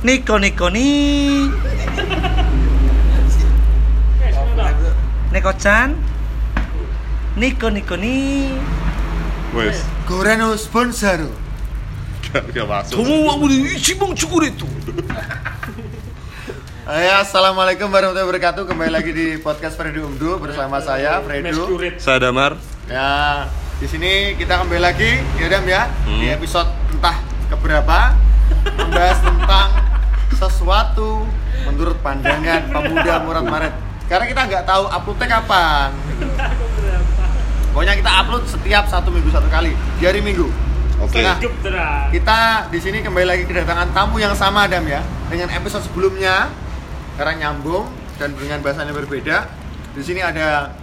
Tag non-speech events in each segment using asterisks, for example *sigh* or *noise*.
Niko Niko ni Neko Chan Niko Niko ni Wes. Gorano sponsor. Gak gak masuk. Semua udah isi bang cukur itu Hai, Eh, assalamualaikum warahmatullahi wabarakatuh. Kembali lagi di podcast Fredo Umdu bersama saya Fredo. Meskurit Saya Damar. Ya, di sini kita kembali lagi ya Dam ya Hmm. di episode entah keberapa membahas tentang sesuatu menurut pandangan pemuda murad maret. Karena kita nggak tahu uploadnya kapan. Pokoknya kita upload setiap satu minggu satu kali di hari Minggu. Oke. Nah, hidup terang. Kita di sini kembali lagi kedatangan tamu yang sama Adam ya dengan episode sebelumnya karena nyambung dan dengan bahasanya berbeda. Di sini ada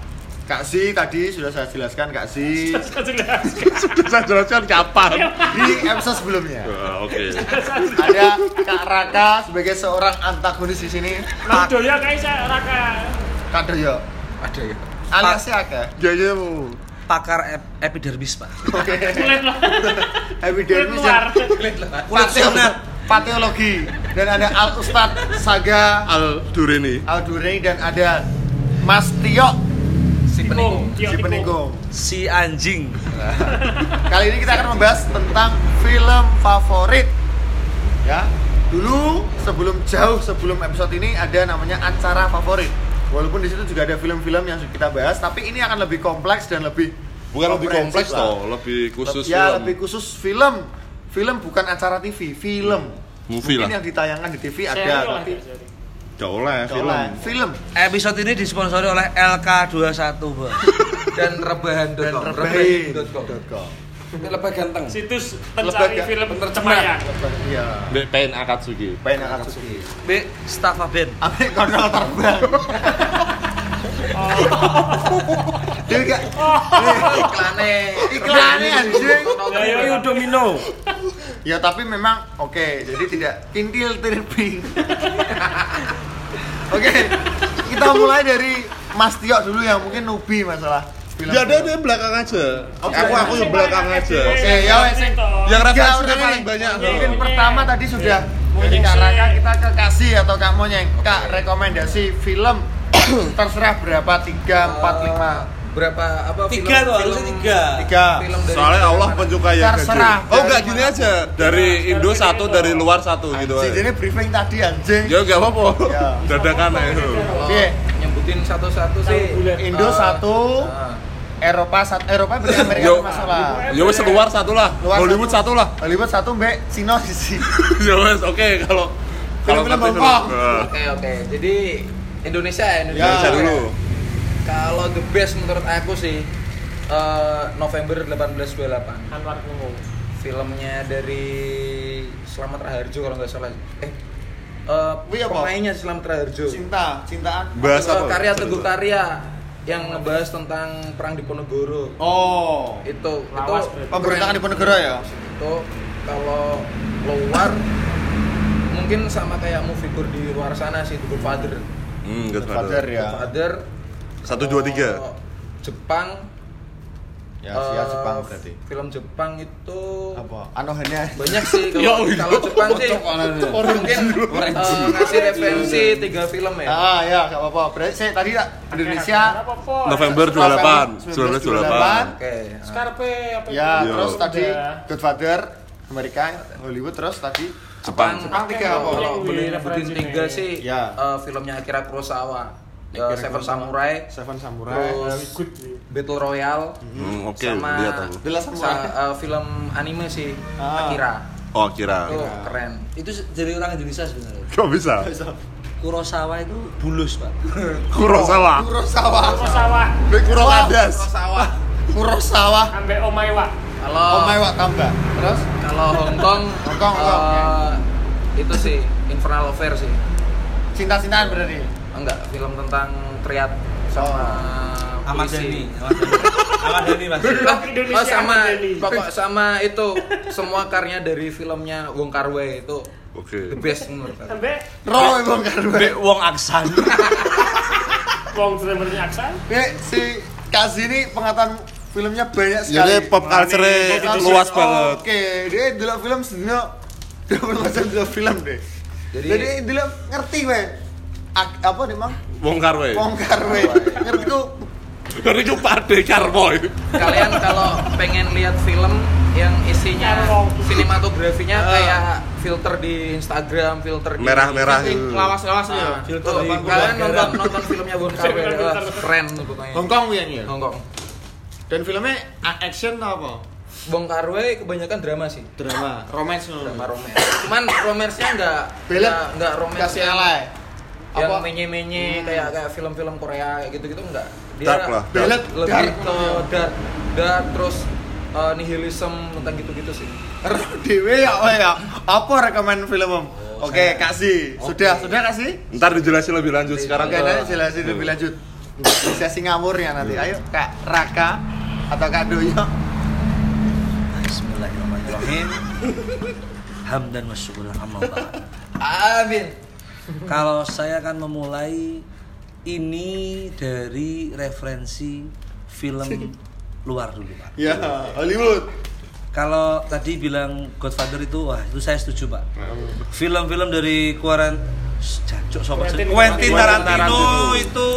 Kak Si tadi sudah saya jelaskan Kak Si Sudah *laughs* saya jelaskan kapan. di episode sebelumnya. Eh, Oke. Ada Kak Raka sebagai seorang antagonis di sini. Kak Lanjut ya Kaisa Raka. Kak Doyo Ada ya alias si Aka. Jaya mau. Pakar ep- epidermis pak Oke. Kulit lah. Happy Kulit Dermis luar. dan Kulit sunat pateologi dan ada Al Ustadz Saga Al Dureni. Aldurei dan ada Mas Tio Si Tikung, si Tio Tikung. peninggung. Si anjing Kali ini kita akan membahas tentang film favorit. Ya. Dulu sebelum jauh sebelum episode ini ada namanya acara favorit. Walaupun di situ juga ada film-film yang kita bahas, tapi ini akan lebih kompleks dan lebih Bukan lebih kompleks komprehensif lah. toh, lebih khusus ya, film. lebih khusus film. Film bukan acara TV, film. Hmm. Movie Mungkin lah. yang ditayangkan di TV Seri ada lah, tapi seri. Gak oleh film. film. film. Episode ini disponsori oleh LK21 bang dan rebahan.com Dan rebahan.com. rebahan.com. Ini lebah ganteng Situs pencari Lembaga film penerjemah. penerjemahan. Iya. Mbak Pen Akatsuki. Baik Akatsuki. B Stafa Band Ambil kontrol terbang. Dia gak iklane iklannya anjing. Iya, Ayo, ayo. Domino Ya tapi memang oke, jadi tidak kintil tirping. oke, kita mulai dari Mas Tio dulu yang mungkin nubi masalah film. Ya ada ada yang belakang aja. Oke. Aku aku yang belakang aja. Oke, ya wes, sing. Yang Tiga referensinya orang paling ini. banyak. Mungkin toh. pertama tadi sudah dari Monyeng Kak sih. Raka kita ke Kasih atau Kak Monyeng. Kak rekomendasi film terserah berapa 3 4 berapa apa Tiga tuh, oh. harusnya tiga. Tiga. film dari Soalnya Allah menyukai yang Terserah. jujur. Oh enggak gini aja. Dari Indo satu, dari luar satu 5. gitu Anjing, aja. jadi briefing tadi anjing. Ya enggak apa-apa. Ya. Dadakan aja. Oh, Kalau Oke. nyebutin satu-satu sih Ah. Bulan. Indo Eh, satu, ah. Eropa satu, Eropa berarti Amerika Yo. ada masalah. Ya wes luar satu lah. Luar Hollywood satu lah. *laughs* Hollywood satu, Mbak Cina sisi. ya wes oke kalau kalau Film-film ngerti Hongkong. film. oke oke jadi Indonesia ya, Ya, Indonesia dulu. kalau the best menurut aku sih eh, November 1828 Anwar Kungo. filmnya dari Slamet Raharjo kalau nggak salah eh eh, Wih, apa? pemainnya Slamet Raharjo Cinta, cintaan. Bahas Eh, apa? karya Teguh Karya yang ngebahas tentang perang Diponegoro Oh, itu Lawas, itu berarti. pemberontakan di Ponegoro ya. itu kalau luar mungkin sama kayak movie kur di luar sana sih The Father Hmm, Father Godfather. ya. Father Satu, dua, tiga. Oh. Eh, Jepang Ya, Asia eh, Jepang berarti. film Jepang itu Apa? Anohenya. banyak *laughs* sih kalau oh, iya. Ya, kalau Jepang sih Cokolannya. mungkin eh, kasih referensi tiga film ya Ah ya, enggak apa-apa. Berarti saya tadi tak, Indonesia. Apa, Po? November 28, 1928. oke eh, Scarpe Ya, apa itu? Iya. Yo. terus tadi Udah. Godfather Amerika, Hollywood terus tadi Jepang. Jepang tiga apa? Iya, kalau boleh Yang di nyebutin referensi tiga nih. sih Ya. eh, filmnya Akira Kurosawa eh, Akira Seven Kurosawa. Samurai Seven Samurai. terus Good sih. Battle Royale Hmm, oke, sama lihat aku. Bella Samurai. sa- eh, film anime sih Ah. Akira Oh, kira. itu keren Itu jadi orang Indonesia sebenarnya Kok bisa? Kurosawa itu bulus pak Kurosawa. Kurosawa. Kurosawa Ini Kurosadas. Kurosawa Kurosawa. ambe Omaiwa. kalau Ah. Oh, my what tambah. Terus kalau Hong Kong Hong Kong, Hong Kong, eh, itu sih Infernal Affair sih Oh, cinta-cintaan berarti. enggak film tentang triad sama Oh, Ahmad polisi. Dhani Ahmad Dhani mas Ah, Indonesia oh, sama Ahmad Dhani. pokok sama itu semua karya dari filmnya Wong Kar Wai itu the Oke. best menurut aku. Ambe Roy Bang Karwe. B Wong Aksan wong sebenarnya aksan. Nek, si Kazi ini pengetahuan filmnya banyak Iya, sekali. Jadi pop culture Pop culture. luas banget. Oke, dia dulu film sedunia 20 macam dulu film deh. Jadi- jadi intinya ngerti weh Ak- apa nih mang Wong karwe. bongkar weh ngerti ku Dari itu pade karmo. itu. kalian kalau pengen lihat film yang isinya Carlo. sinematografinya Ah. kayak filter di Instagram, filter di Merah-merah. lawas-lawas ya. Ah, filter di kalian Bulgarian. nonton nonton filmnya Bon Carwe Filter, eh, filter. keren tuh pokoknya. Hongkong ya nih Hongkong. dan filmnya a- action atau apa Bon Carwe kebanyakan drama sih. drama romance ngono. Drama romance. Cuman romance-nya enggak Belet. enggak enggak romance kasih alay yang apa menye-menye Hmm. kayak kayak film-film Korea kayak gitu-gitu enggak. Dark lah. Belet, lebih dark. ke dark dark terus eh, nihilism tentang gitu-gitu sih. Roh dewe ya oh ya apa rekomen film om Oh, oke saya- kak Si. Oke. sudah sudah kak Si? Ntar dijelasin lebih lanjut sekarang. Oke, ke- nanti jelasin lebih lanjut. Di sesi ngawurnya nanti. Iya. Ayo Kak Raka atau Kak Doyo. Bismillahirrahmanirrahim. Hamdan wa syukuran amma ta'ala. Amin. Kalau saya akan memulai ini dari referensi film luar dulu, Pak. Ya, Hollywood. Kalau tadi bilang Godfather itu wah itu saya setuju pak. Film-film dari Quarant Jancuk sobat Quentin- Quentin Quentin Tarantino Tarantino. itu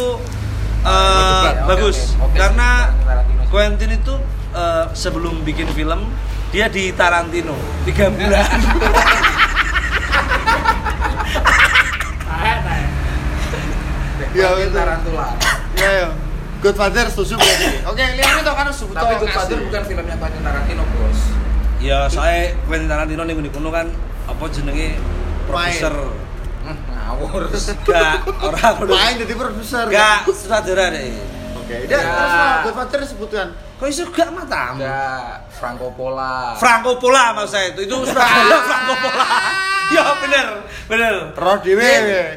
eh, Oke, oke, bagus oke. Oke, karena Quentin Tarantino. Quentin itu eh, sebelum bikin film dia di Tarantino tiga bulan Tahan, tahan. *laughs* Ya, Quentin betul. Tarantula. Ya, ya. Godfather setuju berarti. Oke, lihat itu kan sebutan Tapi Godfather bukan filmnya Quentin Tarantino, Bos. ya saya Quentin Tarantino nih kuno kan apa jenenge produser Hmm, *laughs* ngawur. gak orang kudu main jadi produser. gak sutradara deh Oke, Ya. udah terus lah Godfather sebutkan. kok iso gak matamu Ada Franco Pola. Franco Pola maksud saya itu itu Surabaya Ah. Franco Pola ya bener bener Roh dewe.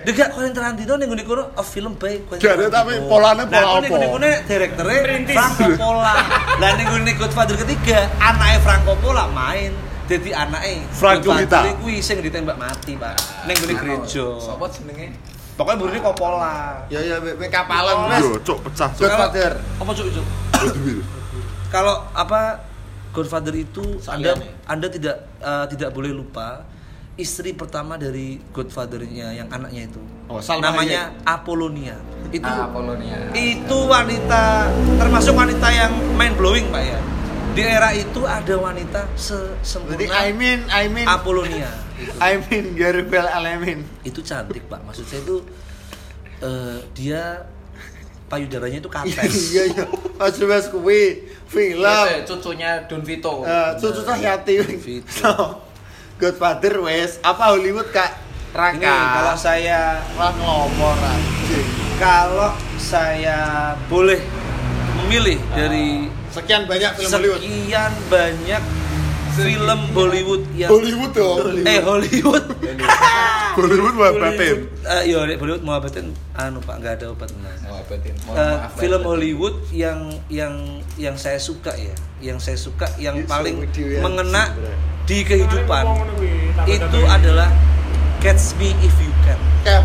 Dekat Quentin Tarantino ning ngene kono a film by Quentin Gak ada, tapi polanya pola nah, apa? Ning ngene direkturnya Merintis. Franco Pola. Lah ning ngene Godfather ketiga, anaknya Franco Pola main. Jadi anaknya Franco Godfather kita. kuwi sing ditembak mati, Pak. Ning ngene gereja. Sobat jenenge? Pokoknya burine Coppola. Ya ya make kapalan Mas. Yo, cok pecah. Cok. Godfather. Apa cuk cuk? Aduh, *coughs* kalau apa Godfather itu Sekalian anda anda tidak eh, tidak boleh lupa istri pertama dari Godfather-nya yang anaknya itu Oh, Salma namanya Apolonia itu Ah, Polonia. itu wanita termasuk wanita yang mind blowing pak ya di era itu ada wanita se- Jadi sempurna I mean, I mean, Apolonia I mean Garibel Alamin. itu cantik pak maksud saya itu eh, dia payudaranya itu kates *laughs* Iya iya. Mas Mas kuwi film. Iya, cucunya Don Vito. Eh, Cucu Cahyati *laughs* Gitu. So, Godfather wes apa Hollywood kak Raka ini kalau saya Wah, ngelomor anjing. kalau saya boleh memilih dari sekian banyak film Hollywood sekian banyak film Bollywood yang Hollywood dong. eh Hollywood Hollywood mah batin. Eh, iya Hollywood mau batin anu Pak nggak ada obat nah. Mohon batin. Mohon Eh, maaf, ya. film batin. Hollywood yang yang yang saya suka ya, yang saya suka yang Ini paling suruh dia mengena sebenernya. di kehidupan Kemarin ngomong ngono kuwi, tambah itu tambah. adalah Catch Me If You Can. Cap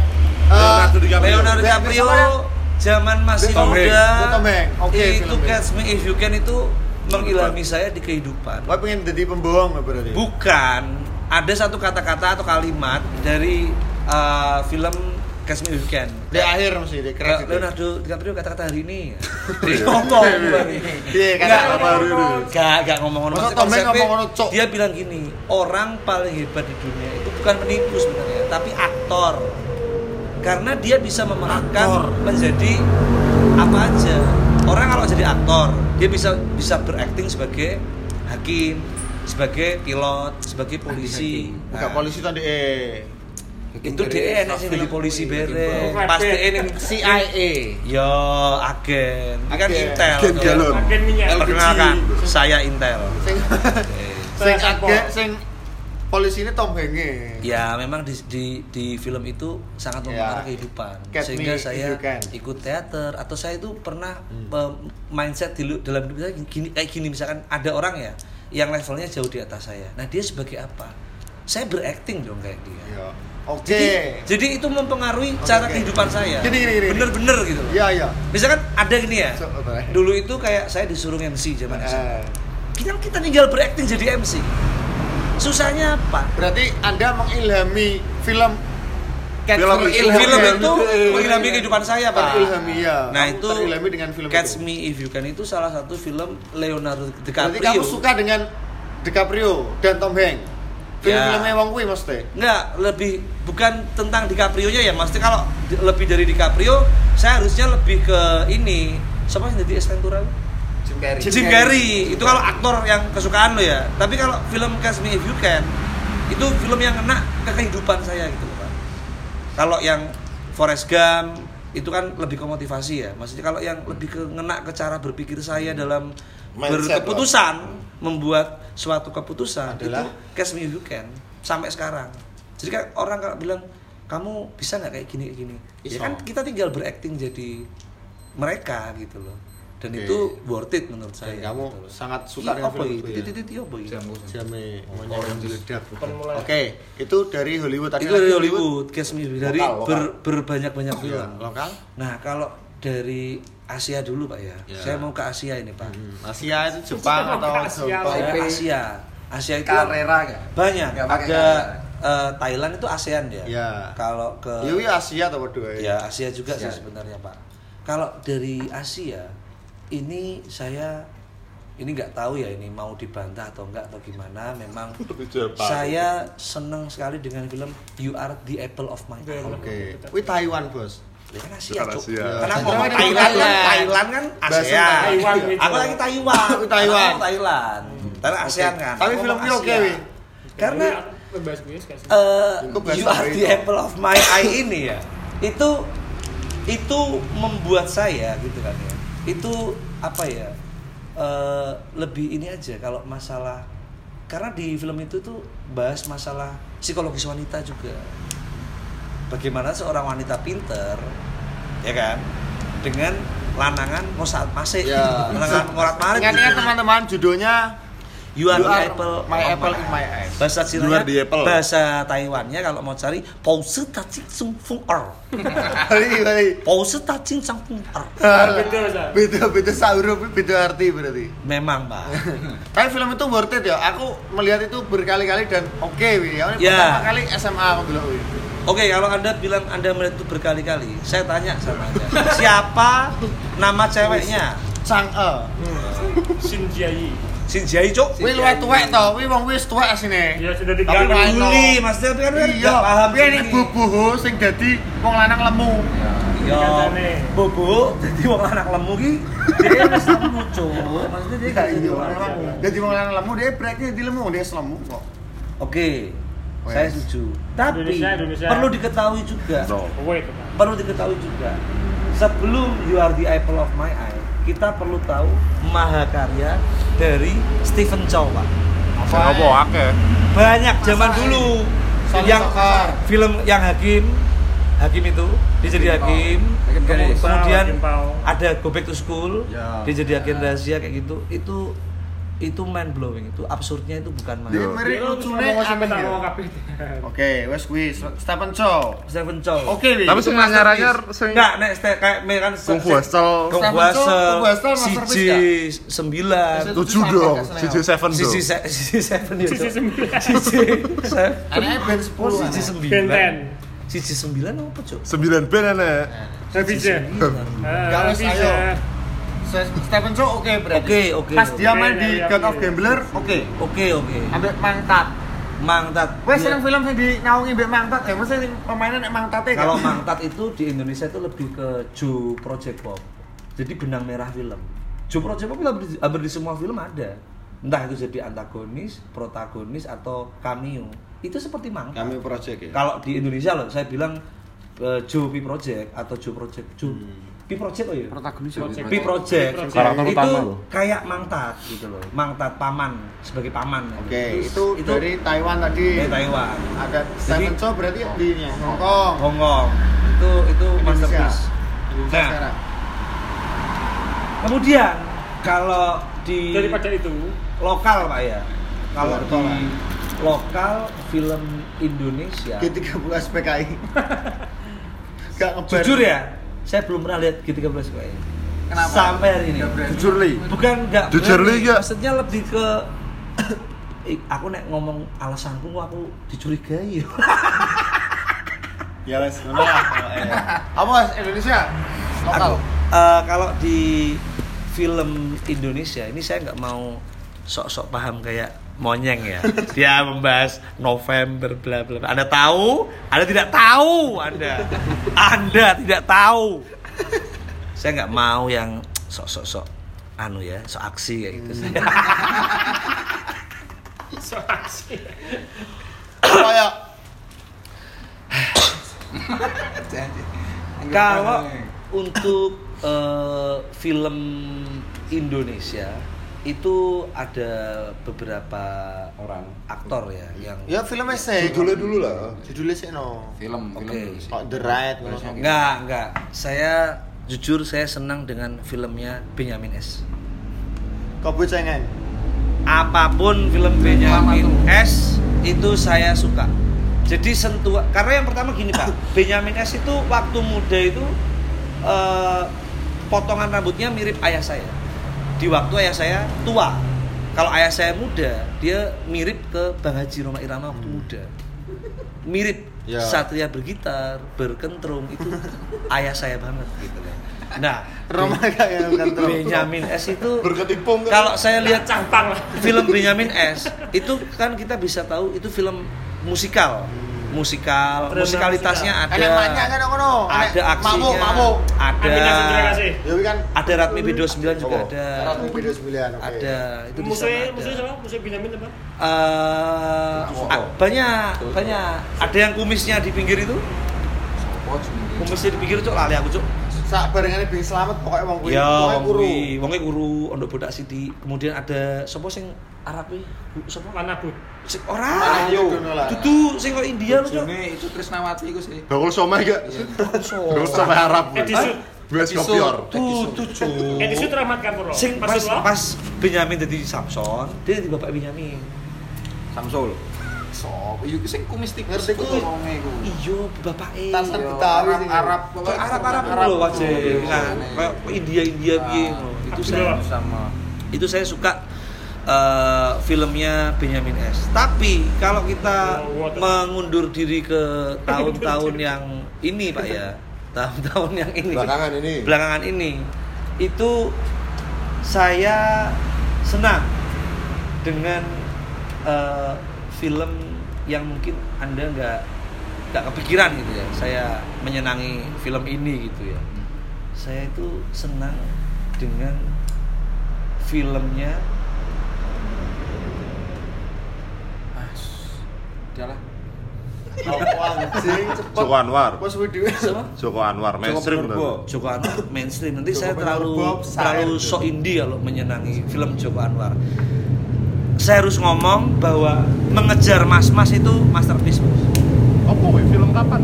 Leonardo DiCaprio. Lihat Leonardo DiCaprio bersama ya. zaman masih Tom Hanks. muda Tom Hanks. Oke, itu film Catch Me If You Can itu mengilhami saya di kehidupan Wah pengen jadi pembohong lo berarti bukan ada satu kata-kata atau kalimat dari uh, film Catch Me If You Can di akhir mesti di Kayak kredit Leonardo DiCaprio kata-kata hari *laughs* ini Dia ngomong iya kata Nggak. apa dulu Gak, gak ngomong Masa ngomong Tom Hanks ngomong ngono, Cok? Dia bilang gini Orang paling hebat di dunia itu bukan penipu sebenarnya Tapi aktor Karena dia bisa memerankan Aktor. menjadi apa aja Orang kalau jadi aktor Dia bisa bisa berakting sebagai hakim Sebagai pilot, sebagai polisi bukan Nah, polisi tadi eh Itu dia enak sih jadi polisi beres Hakim. Pasti ini CIA Yo, agen Ini kan Agen. Intel Agen tuh. galon. Makin minyak. LPG. Iya. Perkenalkan, saya Intel sing sing agak sing polisi ini Tom Hanks Ya memang di, di, di film itu sangat memengaruhi Ya. kehidupan Catch sehingga me if saya you can. Hmm. ikut teater atau saya itu pernah eh, mindset di, lu- dalam hidup saya gini kayak gini misalkan ada orang ya yang levelnya jauh di atas saya. Nah dia sebagai apa? Saya beracting dong kayak dia. Iya. Jadi, oke jadi itu mempengaruhi Oke, cara oke. kehidupan saya. Gini, gini, gini, gini. Bener-bener gitu. loh. iya iya Misalkan ada gini ya. So, apa ya? Dulu itu kayak saya disuruh MC zaman SMA. Eh, Kita kita tinggal beracting jadi MC. Susahnya apa? Berarti Anda mengilhami film Catch Film Me itu- If- film film itu itu- mengilhami kehidupan saya eh, pak iya. Terilhami ya. nah Kamu itu terilhami dengan film itu. Catch Me If You Can itu salah satu film Leonardo Berarti DiCaprio kamu suka dengan DiCaprio dan Tom Hanks. Film-filmnya Ya. Wong Kui maksudnya. Nggak, lebih bukan tentang DiCaprio-nya ya. Maksudnya kalau di- lebih dari DiCaprio, saya harusnya lebih ke ini. Siapa yang jadi Estentura? Jim Carrey. Jim Carrey. Itu kalau aktor yang kesukaan lo ya. Tapi kalau film Catch Me If You Can, itu film yang kena ke kehidupan saya gitu loh, Pak. Kalau yang Forrest Gump itu kan lebih ke motivasi ya. Maksudnya kalau yang lebih ke ngena ke cara berpikir saya dalam Mindset, berkeputusan, membuat suatu keputusan Adalah? itu Catch Me If You Can sampai sekarang. Jadi kan orang kalau bilang kamu bisa nggak kayak gini kayak gini, ya Bisa. kan kita tinggal berakting jadi mereka gitu loh. Dan Oke. itu worth it menurut saya. Dan kamu gitu loh. sangat suka dengan film itu ya? Titit-titit iya, boy. Jame, monyet Orange yang juice. meledak. Pemula. Oke, itu dari Hollywood tadi Itu dari lagi Hollywood, Catch Me If You- dari Lokal, lokal. ber- berbanyak-banyak Iya, film. lokal. Nah, kalau dari Asia dulu, Pak ya. Ya. Saya mau ke Asia ini, Pak. Hmm, Asia itu Jepang atau Asia. Jepang. Saya Taipei. Asia. Asia itu Carrera nggak? banyak. Nggak pakai Ada Carrera. eh, Thailand itu ASEAN ya. Ya. Kalau ke Iya, iya, Asia atau berdua ya Asia juga Asia. sih sebenarnya Pak. Kalau dari Asia ini saya ini nggak tahu ya ini mau dibantah atau enggak atau gimana *laughs* memang saya senang sekali dengan film You Are the Apple of My Eye. Oke. Wih Taiwan, Bos. Ya kan Asia, Bukan Cuk. Asia. Kenapa Taiwan kok itu Thailand kan Thailand. Thailand kan Bahasa ASEAN. Taiwan gitu. Aku lagi Taiwan. Aku Taiwan. Aku Thailand. Thailand ASEAN kan. Tapi Aku filmnya ngomong oke, Asia. Wi. Karena Iya, Bebas bias kan sih. eh, Itu bahasa you are the Taiwan. apple of my eye ini ya. Itu itu membuat saya gitu kan ya. Itu apa ya? eh, lebih ini aja kalau masalah karena di film itu tuh bahas masalah psikologis wanita juga bagaimana seorang wanita pinter ya kan dengan lanangan mau saat masih Ya. lanangan ngorat marit Ingat ya gitu. teman-teman, judulnya *laughs* you are the apple my of apple in my eyes. bahasa You are the Cina apple. bahasa Taiwannya kalau mau cari pause tacing sung fung er Bali, bali. pause tacing sang fung er Beda, Sa. Beda, beda sahur, beda arti berarti. memang pak Tapi film itu worth it ya. Aku melihat itu berkali-kali dan oke, wi. Ya, ini Ya. pertama kali SMA aku bilang, wi. Oke, kalau Anda bilang Anda melihat itu berkali-kali, saya tanya sama Anda. Siapa nama ceweknya? Chang'e. Shin Jiayi. Shinjai, Cok. Wi luwih tuwek to, wi wong wis tuwek asine. Ya sudah Tapi diganti. main to. Bully, kan Mas Tapi kan kan Iya, nggak paham Iya. Wi ini bubuhu sing dadi wong lanang lemu. Ya, Dikandane. bobo, jadi wong anak lemu ki dia bisa lucu. Maksudnya dia Iya. gak jadi wong anak lemu. Dadi wong lanang lemu, dia breaknya di lemu, dia selemu kok. Oke, Wes. saya setuju. Tapi Indonesia, Indonesia. perlu diketahui juga, No. Wait, Pak. perlu diketahui juga. Sebelum You Are the Apple of My Eye, kita perlu tahu mahakarya dari Stephen Chow, Pak. Apa akeh? Banyak zaman dulu Sony yang Sokar. film yang hakim hakim itu dia jadi hakim Hakim Kemu- garis. kemudian Hakim pau. ada go back to school Ya. dia jadi hakim rahasia kayak gitu itu itu mind blowing itu absurdnya itu bukan Dia Ya. main meri lucune aneh sampai ya. mau kabeh. Oke, wes kuwi Stephen Chow. Stephen Chow Oke, wi. Tapi sing anyar-anyar sing enggak nek ste- kayak me kan se- Kung Fu se- Hustle Kung Fu Stephen Chow, Hustle, Kung Fu Hustle CJ masterpiece Itu 9 7 dong. CJ 7 CJ dong. se- CJ 7 ya *laughs* *laughs* Sisi Cok. sembilan. CJ se- Anaknya band 10. oh, CJ aneh. 9 Benten. CJ 9 apa cok? 9 band enek. Bisa. Eh, Gak wes, ayo. Stephen Chow oke berarti. Oke, oke. Pas dia main Oke, di oke, God of oke. Gambler, oke. Oke oke Ambek mangtat. Mangtat Wes Iya. seneng film sing dinaungi mbek mangtat ya, mesti sing pemainan nek mangtate Kalau Mangtat itu di Indonesia itu lebih ke Joe Project Pop. Jadi benang merah film. Joe Project Pop hampir di, hampir di semua film ada. Entah itu jadi antagonis, protagonis atau cameo. Itu seperti Mangtat. kami project Kalau di Indonesia loh, saya bilang eh, Joe P Project atau Joe Project Joe P Project oh ya. Protagonis Project. P Project. Project. Karakter itu utama loh. kayak Mangtat gitu loh. Mangtat paman sebagai paman. Oke, itu, dari Taiwan tadi. dari Taiwan. Ada Stephen Chow berarti di Hong Kong. Hong Kong itu itu Indonesia. masterpiece. Indonesia Nah. sekarang. Kemudian kalau di Daripada itu, lokal pak ya, kalau Luar di tol, ya. lokal film Indonesia, G30 *laughs* SPKI. Gak ngebar. jujur ya, saya belum pernah lihat G13 pak ya. Kenapa? Sampai hari ini. Nggak berani. Jujur li. Bukan nggak Jujur, berani, Li, ya. maksudnya lebih ke *coughs* ya. Eh, aku nek ngomong alasanku aku dicurigai Ya wes, ngono lah. Ah, Apa Mas, Indonesia? Lokal. Aku, eh, kalau di film Indonesia ini saya nggak mau sok-sok paham kayak monyeng ya. Dia membahas November bla bla. bla. Anda tahu? Anda tidak tahu. Anda. Anda tidak tahu. Saya nggak mau yang sok-sok sok anu ya, sok aksi kayak gitu. Soaksi. Apa ya? Kalau untuk eh, film Indonesia itu ada beberapa Orang. aktor ya yang Ya filmnya sih. Judulnya dulu lah. Judulnya sih no. Film, film Oke. dulu sih. Oh, The Right. ngono. Enggak, enggak. Saya jujur saya senang dengan filmnya Benyamin S. Kopi cengen. Apapun film Benyamin S itu saya suka. Jadi sentuh karena yang pertama gini *coughs* Pak, Benyamin S itu waktu muda itu eh, potongan rambutnya mirip ayah saya. Di waktu ayah saya tua. Kalau ayah saya muda, dia mirip ke Bang Haji Roma Irama waktu muda. Mirip Hmm. Ya. Satria bergitar, berkentrum *laughs* itu ayah saya banget gitu loh. Nah, Roma kayak bukan terus. Benyamin S itu Berketipung kan. kalau saya Nah, lihat Campang lah. film Benyamin S itu kan kita bisa tahu itu film musikal musikal Drama musikalitasnya ada Enak banyak kan ngono. Enak ada aksinya Mabuk, mabuk. ada Ambil langsung terima kasih. Ya kan ada Ratmi Bedo 9 juga Oh. ada Ratu video sembilan, oke. ada itu di sana Musuhnya, musuhnya ada. siapa? Musuh Benjamin apa? Eh, a- banyak banyak ada yang kumisnya di pinggir itu Watch mungkin. kumisnya di pinggir cok lali aku cok Sak barengane bing selamat pokoknya wong kuwi. ya pokoknya wong guru. kuwi wonge guru ondok bodak sidi kemudian ada sapa sing Arab iki sapa Mana bu? Sing- Ah, ora yo. Dudu lah. dudu sing kok India lu cok Jone itu Krisnawati iku sih. Iya. Bakul somai gak? Bakul somai Eh, Arab. Edi Sud. Blas kopior. tuh tuh cuy Edi Sud Rahmat kan, Kapuro. sing pas Maksud lo? pas Benyamin jadi Samson dia jadi bapak Benyamin Samsul. Sop, iku sing kumis tipis Ngerti ku. wonge iku. iyo bapak e Tarsan Iya, Betawi Arab- sih. Arab Kok Arab Arab Arab dulu wajah dulu. nah kayak India India Nah. piye Ah, ngono. itu Abdul saya Wahab. sama itu saya suka eh, filmnya Benyamin S. Tapi kalau kita Oh, what? mengundur diri *laughs* ke tahun-tahun yang ini Pak ya, tahun-tahun yang ini, Belakangan ini. belakangan ini, itu saya senang dengan eh, film yang mungkin anda nggak nggak kepikiran gitu ya. Saya menyenangi film ini gitu ya. Saya itu senang dengan filmnya Udah lah. Apa anjing cepet. Joko Anwar. Wes video. siapa? Joko Anwar mainstream Purbo. bener. Joko Anwar mainstream nanti Joko saya terlalu Anwar, Bob, terlalu Saer. sok indie kalau menyenangi film Joko Anwar saya harus ngomong bahwa mengejar mas-mas itu masterpiece Bos. Apa weh film kapan?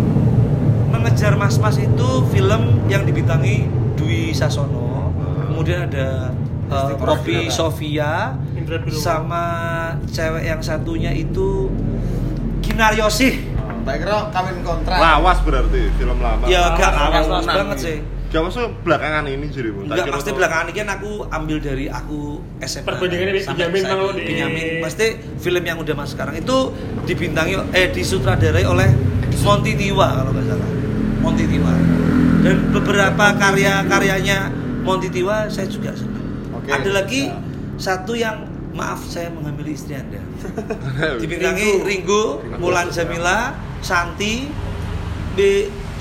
mengejar mas-mas itu film yang dibitangi Dwi Sasono kemudian ada eh, Poppy Sofia Indra Purwo. sama cewek yang satunya itu Kinar Yosih Tak kira kawin kontrak. Lawas berarti film lama. ya gak lawas lawas lanang banget ini. sih Gak maksud belakangan ini jadi Bu. Tak Enggak, kira pasti tuh- *laughs* belakangan ini kan aku ambil dari aku SMA Perbandingannya dengan sampai Benjamin saat Mang ini. Lodi. kan, Benjamin, pasti film yang udah mas sekarang itu dibintangi eh disutradarai oleh Monty Tiwa kalau nggak salah Monty Tiwa dan beberapa karya-karyanya Monty Tiwa saya juga senang Oke, ada lagi siap. satu yang maaf saya menghamili istri anda dibintangi Ringo, Mulan Jamila Santi B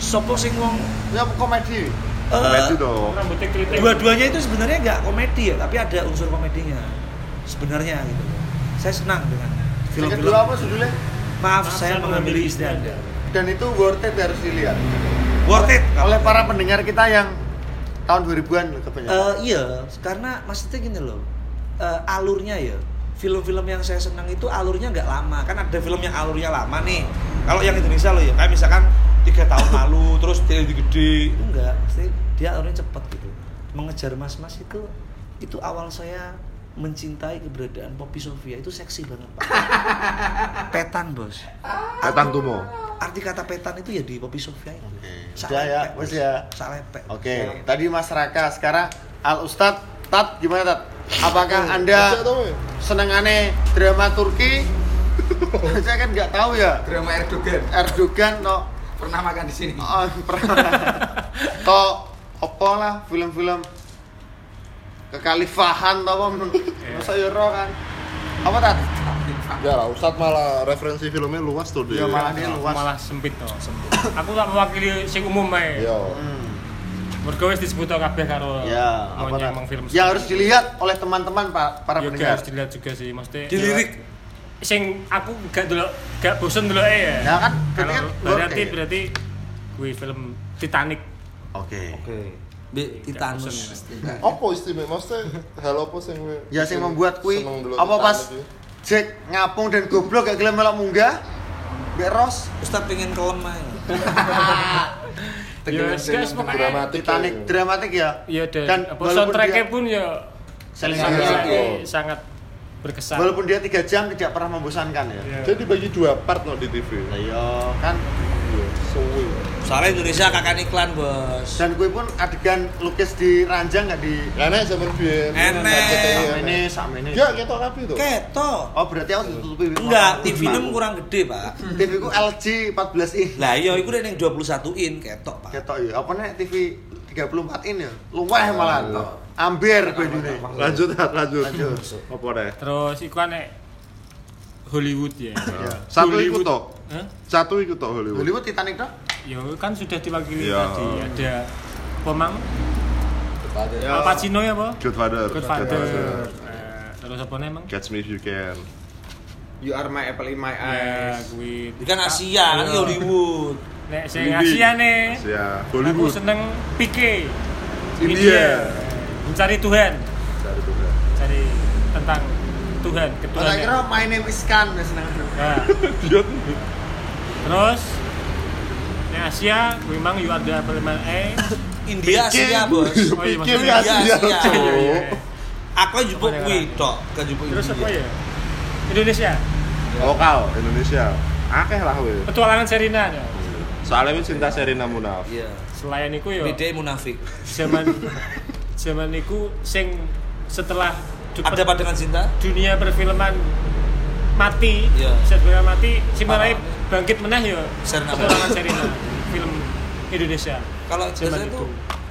Sopo sing wong Ya komedi. eh, Komedi dong. Rambutnya keriting. dua-duanya itu sebenarnya nggak komedi ya tapi ada unsur komedinya sebenarnya gitu saya senang dengan Yang kedua apa film-film judulnya? Nah, maaf saya mengambil istri Iya. anda Dan itu worth it harus dilihat. worth it Oleh para pendengar kita yang tahun 2000-an kebanyakan. Eh, iya karena maksudnya gini loh eh, alurnya ya film-film yang saya senang itu alurnya nggak lama kan ada film yang alurnya lama nih kalau yang Indonesia loh ya kayak misalkan tiga *laughs* tahun lalu terus dia jadi gede itu enggak pasti dia alurnya cepet gitu mengejar mas-mas itu itu awal saya mencintai keberadaan Poppy Sofia itu seksi banget *laughs* Pak. petan bos Petang Tumo. arti kata petan itu ya di Poppy Sofia itu Sak Udah ya, lepek, wes Bos. ya. Sak lepek. Oke, tadi Mas Raka, sekarang Al Ustad, Tat gimana Tat? Apakah Anda senengane drama Turki? *laughs* Saya kan nggak tahu ya. Drama Erdogan. Erdogan no pernah makan di Ah. sini. *laughs* Oh, Kok opo lah film-film kekhalifahan tau apa masa ya roh kan. Apa tat? Ya lah, Ustadz malah referensi filmnya luas tuh dia. Ya malah dia luas. Iya, malah sempit toh sempit *coughs* aku tak mewakili sing umum ae Iya. Hmm. mergo wis disebut kabeh karo Ya, apa maunya Tat? emang film Yang harus dilihat oleh teman-teman Pak para ya gak pendengar. harus dilihat juga sih maksudnya Dilirik. sing aku gak dulu gak bosen dulu ya Ya kan, berarti kan kalau gua berarti kayak- berarti gue film Titanic Oke. Oke. Bi Titanus. Apa istimewa? Maksudnya hal apa sing Ya sing membuat kui seneng dulu apa kita pas tadi? Jack ngapung dan goblok gak gelem melok munggah. Mbak Ros Ustaz pengen kelem aja. ya wis, guys pokoknya dramatik Titanic ya. dramatik ya. ya dan Dan apa walaupun soundtracknya dia- pun ya Saling sangat menghargai. sangat- sangat berkesan Walaupun dia 3 jam tidak pernah membosankan ya. Ya. Jadi dibagi dua part no di TV. Lah Iya kan Iya, suwi. Soalnya Indonesia kakak iklan, Bos. dan gue pun adegan lukis di ranjang nggak di Enak zaman biyen. Enak. sama ini sama ini. Iya. Ya ketok kabeh to. Keto. Oh berarti aku tutupi. Enggak, TV nem kurang gede, Pak. TV ku LG 14 in. Lah iya iku nek ning 21 in ketok, Pak. Ketok ya. Apa nih TV 34 in ya? Luweh malah. Amber gue dulu. Lanjut, Tat, lanjut. Lanjut. Apa deh? terus iku aneh Hollywood ya Iya. Satu ikut to. Hah? Satu ikut to Hollywood. Hollywood Titanic dong. ya kan sudah diwakili Ya. tadi ada Pomang Ada. Al Pacino ya apa? Godfather. Godfather Eh, terus apa nih emang? Catch me if you can. *laughs* You are my apple in my Ya, eyes. gue Bukan Iya. Asia, kan ini Hollywood. Nek sing Asia nih. Ya, Aku Hollywood. seneng Pique. India. Mencari Tuhan, Dari Tuhan. cari tentang Tuhan, ketuhanan. Saya kira My Name Is kan, Khan wis seneng. Nah, *laughs* Dia terus Nek Asia, gue memang you are the apple in my *laughs* eye. India Asia, Bos. Oh, iya, Pikir maksudnya. Asia, Iya, Iya, iya, iya. Cuk. Aku kan jupuk Apa kuwi dengan- tok, kan jupuk Terus apa Iya. India. ya? Indonesia, Lokal Indonesia. Akeh lah we. petualangan Serina ya. Soalnya wis cinta Serena Munaf. Iya. Selain itu ya, Beda munafik. zaman *laughs* zaman itu sing setelah cepet- Ada apa dengan cinta? dunia perfilman mati, Iya. set dunia mati, sebenarnya Parah. bangkit menah ya Serna. petualangan Serina film Indonesia. Kalau Zaman biasanya Iya, itu. itu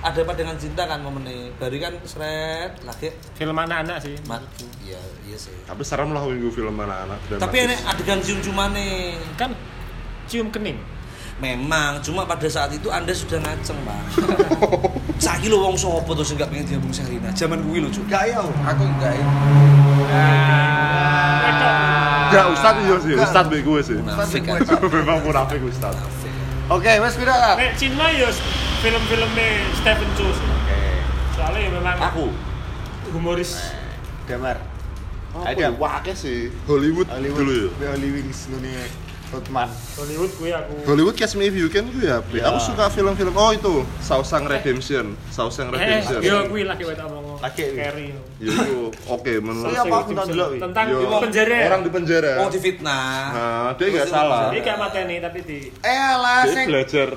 ada apa dengan cinta kan momennya Bari kan seret lagi Film anak-anak sih. mat iya iya sih Tapi serem lah minggu film anak-anak. tapi dramatis. enek adegan cium-ciumane Kan cium kening. memang cuma pada saat itu anda sudah ngaceng pak *laughs* saiki lo wong sopo tuh sing gak pengen diambung Serina zaman kuwi lo cuy Gak ya. Aku enggak ya. Ya Ustad iya sih, Ustad bego sih. munafik kan Memang munafik Ustad. Munafik. Oke, wes pira Tat? Nek Cina ya film-filmnya Stephen Chow sih. Soalnya ya memang aku humoris. Damar. Ada Adam. wah akeh sih. Hollywood, dulu ya. Hollywood. Hollywood ngene Hotman. Hollywood gue aku. Hollywood Catch Me If You Can itu ya, Pri. Ya. Aku suka film-film. Oh itu, Sausang Redemption, Sausang Eh, Redemption. yo gue lagi wet omong. Laki. Carry. Ya, itu oke menurut. Iya, apa aku tak delok, Iya. wi? Tentang Yo, penjara. Iya. Orang di penjara. oh di fitnah Ya. Nah, dia nggak salah. Jadi gak mateni tapi di Eh lah Dia sing belajar.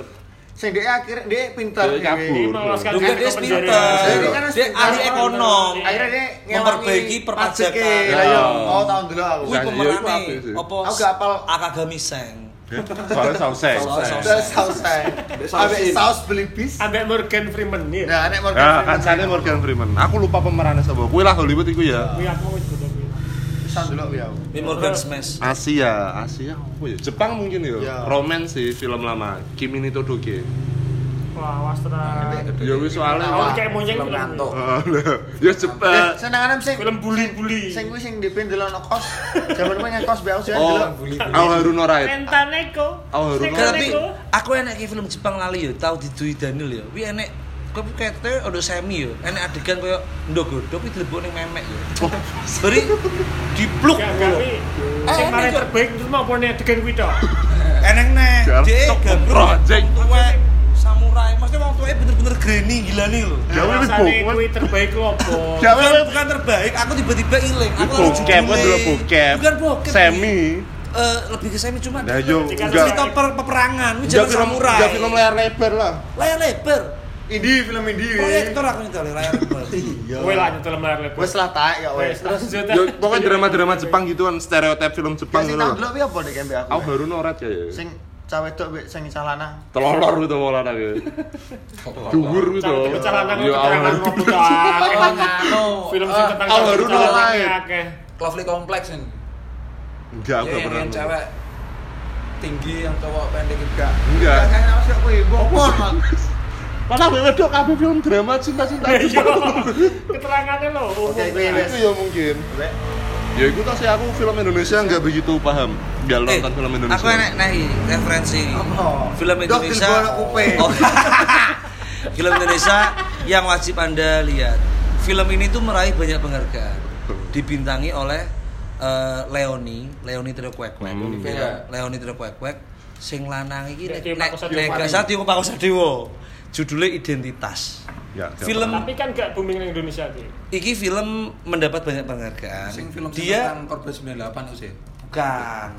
sing dia akhir dia pintar Dia kabur. dhewe. Ini meloloskan Duga diri kan dia ke kan pinter penjara. Iya, Jadi kan harus dia ahli pinter. ekonom Akhirnya dia ngewangi Memperbaiki perpajakan. pajeknya. Lah iya. Ya. Oh, tahun dulu aku. kuwi Iya, iku pemerane apik sih. apa Aku gak apal. akagami seng Eh, Soalnya sauseng. Sauseng. Udah saus saya. Ambek saus beli bis. Ambek Morgan Freeman ya. Nah, nek Morgan Ya, Freeman. kancane Morgan Freeman. Aku lupa pemerannya sama. Kuwi lah Hollywood itu ya. Kuwi aku wis kudu kuwi. Tahun dulu aku Iya. ya. Ini Morgan Smash Asia, Asia apa ya? Jepang mungkin ya. Ya. Roman sih film lama. Kimi ni Todoke. Wah, was tenan. Ya wis soalnya. *laughs* Awal kayak monyet Film gitu. film. ngantuk. Oh, Ah, lah. Ya Eh, Jepang. senengane sing Film bully-bully. sing kuwi sing dipin delok no kos. Jaman kuwi ngekos mbek aku sih Oh, delok. Al Harun Oraid. Entaneko. Oh, Runo. Entaneko. tapi aku enak ke film Jepang lali yo tau di Dwi Daniel ya. yo kuwi enak kuwi kete ono semi yo enak adegan koyo ndok godhog kuwi dilebok ning memek yo Oh. beri dipluk Gak gawe. Sing Eh, paling ini, Cuk. terbaik terus mau pone adegan kuwi tok. enek neh Gar- dhek Tok- gambrong project. tuwek samurai maksudnya wong tuwek bener-bener granny gilane lho Ya, wis Rasane bokep. kuwi terbaik ku opo? Ya, Bukan, wis. bukan terbaik, aku tiba-tiba iling. Aku lalu Bokep, kan judulnya. dulu bokep. Bukan bokep. Semi. Eh, lebih ke semi cuma Nah, yo Ketika enggak. cerita per peperangan, ini Enggak jalan film, samurai. enggak film layar lebar lah. Layar lebar. Indie film Iya. indie. weh. Proyektor aku nyetel layar lebar. *laughs* Kowe lah nyetel layar lebar. Wes lah taek ya wes. Terus lanjut. Ya, pokoknya drama-drama Jepang gitu kan, stereotip film Gak Jepang gitu. sih loh. tahun dulu tapi apa deh kayak aku? Al Harun Oraid ya. ya. Sing cah wedok mbek sing cah lanang. Telolor gitu mau lanang gitu. Dhuwur gitu. Cara pecah lanang Ya keterangan Allah. ngomong doang. Oh, nganu. Film sing Eh, tentang Al cara Harun pecah doang. lanangnya akeh. Lovely Complex ini. Enggak, aku Ya, gak yang, pernah. yang cewek tinggi yang cowok pendek juga. Enggak. Kakek nang sik kuwi bopor. Malah gue wedok kabeh film drama cinta-cinta itu. Iya. Keterangannya loh. Oke, umum. kuwi wis. Itu ya mungkin. Wek. Ya itu tak sih aku film Indonesia nggak begitu paham. Nggak Eh, nonton film Indonesia. Aku enak nah ini, referensi. Oh, Apa? Film Dok, Indonesia. Gilboa Kupe. Oh. *laughs* film Indonesia yang wajib Anda lihat. Film ini tuh meraih banyak penghargaan. Dibintangi oleh eh, Leoni, Leoni Trio Kwek Kwek. Hmm. Iya. Leoni Trio Kwek Kwek sing lanang iki nek Nek- Nek- nek Pakusadewo nek Paring. gak salah Tio Pakusadewo. Judulnya Identitas. Ya, nggak Film Tapi kan gak booming di Indonesia sih. iki film mendapat banyak Nah, penghargaan. Sing film sing Dia tentang Korban 98 itu sih. bukan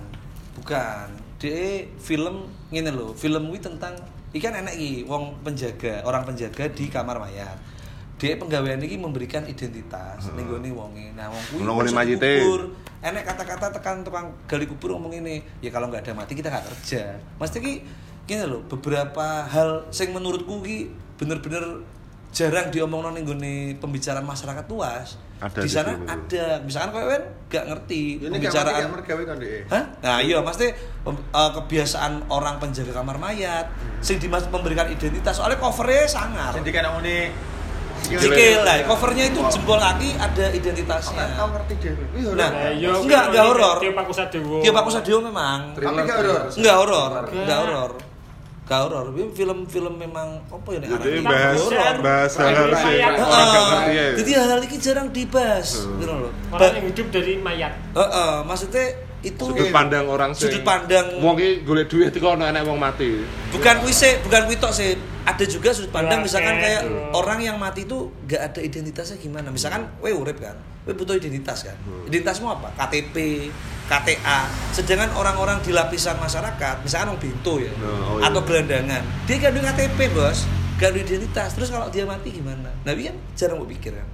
bukan dia film ngene lho film kuwi tentang ikan enak iki wong penjaga orang penjaga di kamar mayat dia penggawean ini memberikan identitas hmm. nih wonge nah wong kuwi Nonggone masuk mayite. kubur enak kata-kata tekan tukang gali kubur ngomong ini ya kalau nggak ada mati kita nggak kerja mesti ki gini loh beberapa hal sing menurutku ki bener-bener jarang diomong nih pembicaraan masyarakat luas Ada di di sana sini, Bu. ada misalkan kowe kan nggak ngerti Ini gak mati pembicaraan gak mergawe kan, kon dhek. Hah? Nah, iya pasti pem- eh, kebiasaan orang penjaga kamar mayat sing dimaksud memberikan identitas. Soalnya covernya sangar. Sing dikene ngene. Sikil lah, covernya itu jempol kaki ada identitasnya. Kau ngerti dhewe. Kuwi horor. Nah, Eh, iya. yo, Enggak, enggak horor. Tio Pakusadewo. Dia Pak Sadio memang Tapi gak horor. enggak horor, enggak horor. Enggak horor. Ini Film-film memang apa ya nek Jadi arane? bahasa Horor. bahasa Orang harusnya yang- orang nggak Heeh. ngerti ya. Oh. Jadi hal-hal ini jarang dibahas, gitu Orang loh. Ba- yang hidup dari mayat. Heeh, maksudnya itu Sudut pandang orang sih. Sudut pandang. Wong iki golek duit iki ono enek wong mati. bukan kuwi sih, bukan kuwi tok sih. Ada juga sudut pandang Oke, misalkan kayak tuh. orang yang mati itu nggak ada identitasnya gimana. Misalkan we urip kan, we butuh identitas kan. Hmm. Identitasmu apa? KTP, KTA. Sedangkan orang-orang di lapisan masyarakat, misalkan orang bento ya Oh, oh iya. atau gelandangan, dia gak ada KTP, Bos. Gak ada identitas. Terus kalau dia mati gimana? Nah, ini kan jarang mau pikir kan.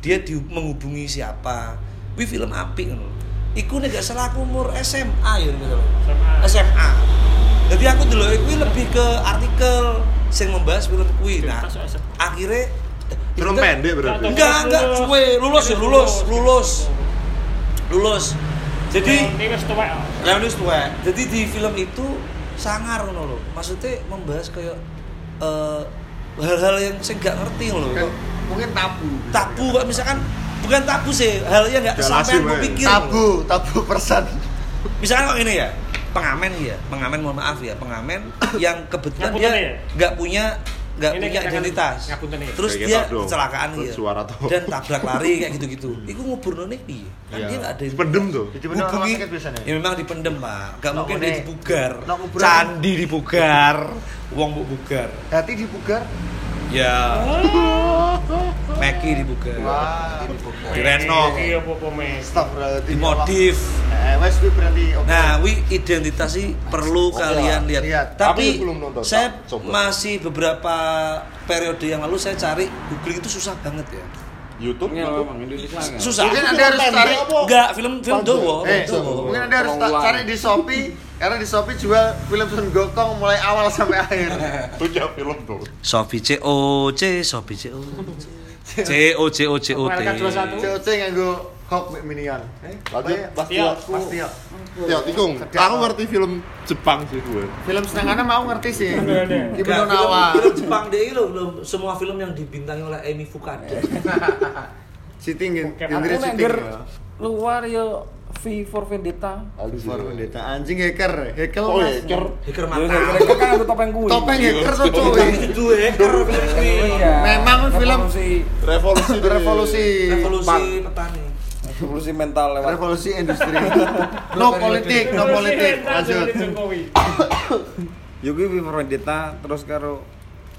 Dia di, menghubungi siapa? Kuwi film apik ngono. Iku nek gak salah aku umur SMA ya ngono. SMA. SMA. Jadi aku dulu kuwi lebih ke artikel yang membahas film kuwi. Nah, Identitas SMA. akhirnya Film pendek berarti. Enggak, enggak, cuwe, lulus ya, lulus, lulus. Lulus. Jadi ini Ya, wis tuwek. Lah wis tuwek. Jadi di film itu sangar ngono lho. Maksudnya membahas kayak eh, hal-hal yang saya nggak ngerti ngono lho. Kan mungkin tabu. Tabu kok misalkan bukan tabu sih, hal yang nggak Nggak lazim, kesampaian eh. berpikir. Tabu, tabu persen. Misalkan kok ini ya, pengamen ya, pengamen mohon maaf ya, pengamen *coughs* yang kebetulan Ngapunten dia ya? nggak punya nggak Ini punya kita kan identitas. ngapunten ya? Terus Kayak dia gitu, dong. kecelakaan Terus ya. suara tuh. Dan tabrak lari kayak *coughs* gitu-gitu. Iku nguburno nih piye? Kan Iya. dia nggak ada Pendem tuh. Jadi bener rumah Hubungi- sakit biasanya. Ya memang dipendem pak, gak Nah, mungkin ini- dia dibugar. Nah, kuburan- Candi dibugar, wong mbok bugar. Hati dibugar. Ya. Meki dibugar. Wah. Direnov. Iya, apa-apa mes. Stop berarti. Dimodif. Eh, wes kuwi berarti. Eh, oke. Nah, wi identitas sih perlu Oke kalian lah, lihat. Oh, iya. lihat. Tapi Aku belum nonton, saya tak coba. masih beberapa periode yang lalu saya cari googling itu susah banget ya. YouTube iya. Susah. Iya. Mungkin Anda harus cari Enggak, film film Panjang. dowo, film Eh, dowo. mungkin anda harus ta- cari di Shopee karena di Shopee jual film Sun Gokong mulai awal sampai akhir. Itu ya film tuh. Sofi C O C Sofi C O C C O C O C O T kan LK21. COC nganggo Hawk Minion. Eh, Lanjut. pokoknya Pasti Iya. aku. Pasti ya. Ya, tikung. Aku ngerti film Jepang sih gue. Film senengannya mau ngerti sih. Bener. Kibono Nggak, film- Nawa. Film Jepang DI loh, belum semua film yang dibintangi oleh Emi Fukada. Iya. Sitting Oke, genre aku sitting. nengger luar yo V for Vendetta For Vendetta anjing hacker, hacker Oh, Mas. hacker. Hacker yo mata. kira kan aku topeng kuwi Topeng hacker tuh cuy. Tapi itu eh, hacker film ini. Iya. Memang film- revolusi Revolusi di- Revolusi. Revolusi petani. revolusi mental lewat Revolusi *laughs* industri. No politik, no politik. Lanjut. Jokowi. yo kuwi V for Vendetta terus karo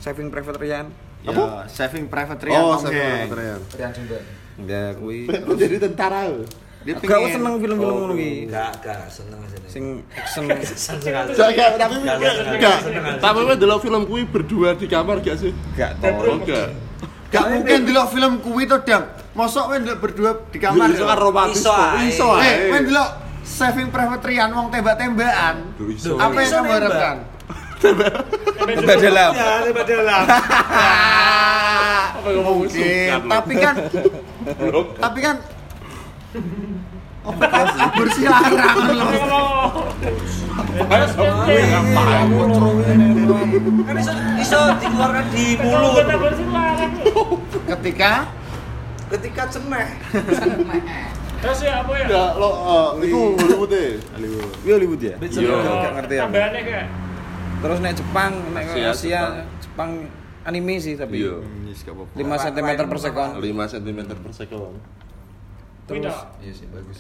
Saving Private Ryan Ya, Saving Private Ryan. Oh, Tom saya Hanks. keren. Rian Sunda. ya kuwi Jadi tentara. loh. Dia Aku aku pengen- seneng film-film ngono Oh, kuwi Enggak, enggak seneng aja nih. sing action Seneng aja. Saya tapi Nggak, nggak, nggak. enggak. Seneng aja. Tapi gue dulu film kui berdua di kamar gak sih? gak Oh, tau enggak. Gak mungkin delok film kuwi to, Dang. Mosok kowe ndelok berdua di kamar. Kamar itu kan romantis. Iso tuh. ae. Iso Eh, ae. kowe ndelok Saving Private Ryan wong tembak-tembakan. Duh, iso. Apa yang Iso kamu nembak. harapkan? Tembak dalam. ya tembak *laughs* dalam Apa ngomong Oke, usukan lu? tapi kan Blok. tapi kan kabur sih larang loh. kan iso iso dikeluarkan di mulut Terus Ketika ketika cemeh ya apa ya? Ya, lo eh, iku Hollywood e. Iya Hollywood ya? Yo. Gak ngerti aku. Tambahannya kayak Terus nek Jepang, nek ke Asia, Asia, Jepang. Jepang. anime sih tapi. Iya. 5 cm per second. 5 cm per second. Wih, Terus Dok. iya sih bagus.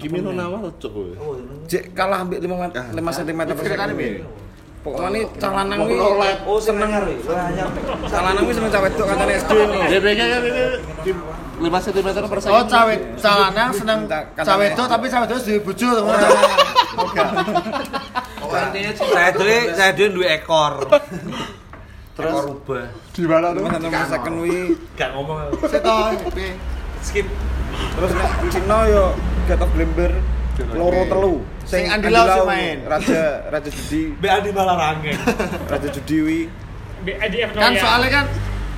Kimi no nawa lo cok kowe. Jek kalah ambek Ah. 5 cm per second. Pokoknya ini calanang ini oh seneng hari banyak calanang ini seneng cawe itu katanya SD ini. DPK kan ini 5 cm per oh second. cawe calanang seneng Kata- cawe katanya. itu tapi cawe itu di bojo temen. intinya saya dulu saya dulu dua ekor terus ekor rubah Di mana 5 cm per second ini. gak ngomong aku. Seto. skip Terus nek Cina yo God of Glimmer loro telu. Sing Andi Lau sing main. Raja Raja Judi, Mbak Andi malah range Raja Judi wi. BIDF Kan eh, Noya. soalnya kan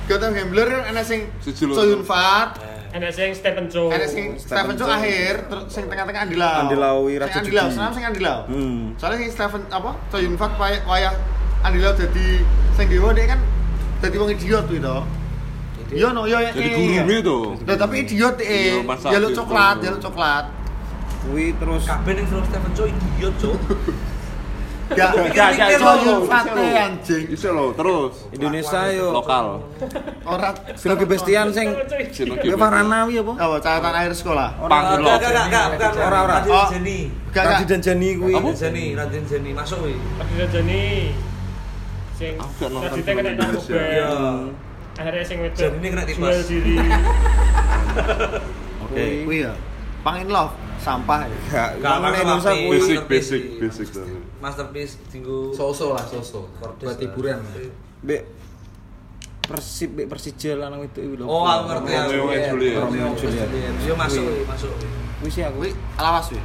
Gotham Gambler kan ana sing Siji loro. Soyun Fat, Ada sing Stephen Chow. ana sing Stephen Chow akhir, terus sing tengah-tengah Andi Lau. Andi Lau, Sing Raja Andi Lau, Judi. senam sing Andi Lau. Hmm. Soalnya sing Stephen apa? Soyun Fat pay- wayah Andi Lau dadi sing dewa dia kan dadi wong idiot kuwi to. Yo no yo ya. Jadi eh, guru iya. itu. Loh, tapi idiot eh. Iya, masa Jaluk idiot coklat, guru. jaluk coklat. Kuwi terus kabeh ning film Stephen Chow idiot cok Gak, gak, gak, gak, Soyun gak, Fat eh, anjing. Iso lo terus. Indonesia yo Lokal. Ora Vino Bestian sing Sino Gue Farana wi apa? apa catatan air sekolah. Panggil lo. gak gak gak gak bukan Iya, Ora, ora. Raden Oh. Jenny Gak, Raji gak. dan Jani kuwi. Raden Jenny Raden Jenny masuk wih Ada Jani. Sing Aku gak nonton tadi film kena Indonesia. iya narkoba. Akhirnya sing wedok. Jani kena tipas. jual diri. Oke. Kuwi ya. Pangin love sampah. ya. Gak, Gak, gak Bang, Indonesia Bang. kuwi. Basic Masterpiece. basic basic. tapi. masterpiece tinggu Soso lah, soso. Buat hiburan. Mbek Persib mbek Persija lanang itu iku lho. oh aku ngerti aku Romeo and Iya. Juliet. Romeo and Juliet yo masuk wih masuk wih Kuwi sih aku. Kuwi lawas kuwi.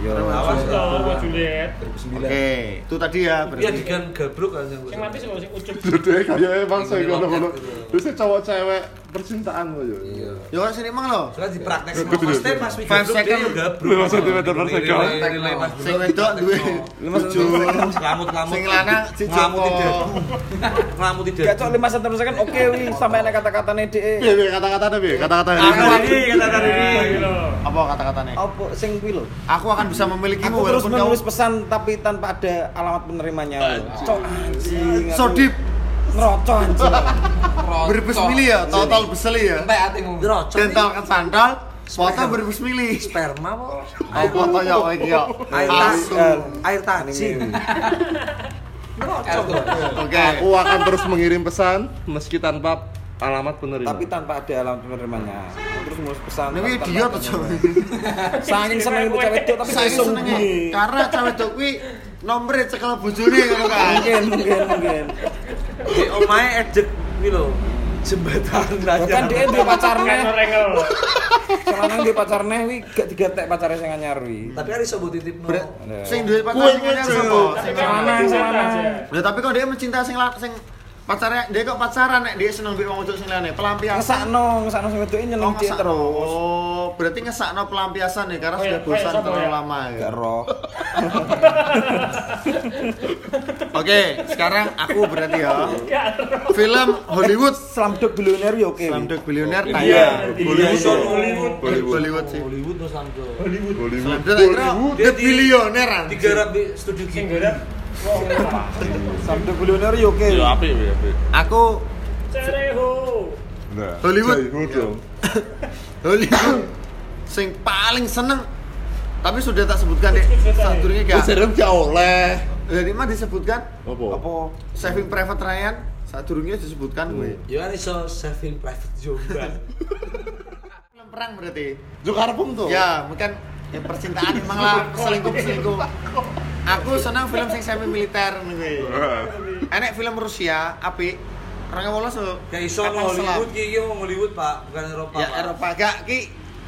Yo. Awas, Terus Bang. lo Juliet. 2009. Oke, itu tadi ya ya berarti. digan gabruk kan yang gue Sing mati sing sing ucup. Jadi kayak emang saya Ini ngono-ngono. lokat gitu. Terus cowok cewek percintaan lo ya. Iya. Yo kan sini emang lo. Soalnya di praktek sama Mas Teh, Mas Wi Five gabruk, dia second. yo gabruk. Lima sentimeter per Relay, second. relay, relay, Mas Sing Bro. wedok duwe *laughs* Lima tujuh. Ngelamut-ngelamut. Sing lanang si Ngelamut Joko. *laughs* tidak. Ngelamut tidak. Gak cok 5 cm second oke wi sampai nek kata-katane Iya, dhek. iya, kata-kata deh, kata-kata Aku ini. ini kata tadi. Iya, gitu. Apa kata-katanya? Apa sing kuwi lho? Aku akan bisa memilikimu Aku terus Iya, walaupun kamu menulis pesan tapi tanpa ada alamat penerimanya. Cok anjing. aku so deep. Ngerocok anjing. Berbes mili ya, total beseli ya. Entek ati ngomong. Drocok Dental ini ke sandal, foto berbes mili. sperma po. Oh, foto ya oh iki yo. Air tas, Asu. air tajin. Drocok. Oke. Aku Oh, akan terus mengirim pesan meski tanpa alamat penerima. Tapi tanpa ada alamat penerimanya. Aku terus menulis pesan. Ini tanpa- idiot tanpa- tuh. Saking seneng ibu cewek itu tapi Saya langsung seneng karena cewek tuh kuwi nomere cekel bojone ngono kan. mungkin mungkin mungkin. Di omahe ejek iki lho. Jembatan Bahkan dia aja. duwe pacarnya, Kan rengel. sekarang dia pacarnya, wi gak tiga tek pacarnya yang nyar wi. Tapi hari sobo titip no. Bre- Sing duwe pacar sing anyar sapa? Sing lanang. Ya tapi kok dia mencintai sing la- sing pacarnya dia kok pacaran nek dia seneng mbek wong wedok sing liyane. Pelampiasan. Ngesakno, ngesakno sama itu nyeneng Oh, dia ngesak- terus. Oh, berarti ngesakno pelampiasan ya karena Oh, sudah iya. bosan Oh, iya, terlalu iya. lama ya. Gak roh. *laughs* Oke, sekarang aku berarti ya. Film Hollywood Selam dok billionaire ya oke. wi. Slumdog Billionaire Iya, iya. tayang. Bollywood. Iya, Hollywood. Bollywood sih. Hollywood no samdo. Bollywood. Slumdog akhirnya The Dia di- Billionaire anjing. Digarap di studio Sing Ghibli. gerak. Wong. Selam dok billionaire ya oke. Ya api ya api. Aku Cereho. Nah, Hollywood. Hollywood dong. Hollywood sing paling seneng tapi sudah tak sebutkan deh satunya Ya gak serem gak oleh. jadi mah disebutkan Apa? Apa? Saving Private Ryan saat disebutkan gue. Yo kan iso saving private jombang. Film perang berarti. Jukarpung tuh. Oh. Ya, mungkin ya percintaan emang *laughs* lah selingkuh selingkuh. Aku senang film sing semi militer gue. Enak film Rusia, api. Orangnya wolos tuh. Kayak Ya, iso no Hollywood ki iki mau Hollywood Pak, bukan Eropa. Ya Pak. Eropa gak ki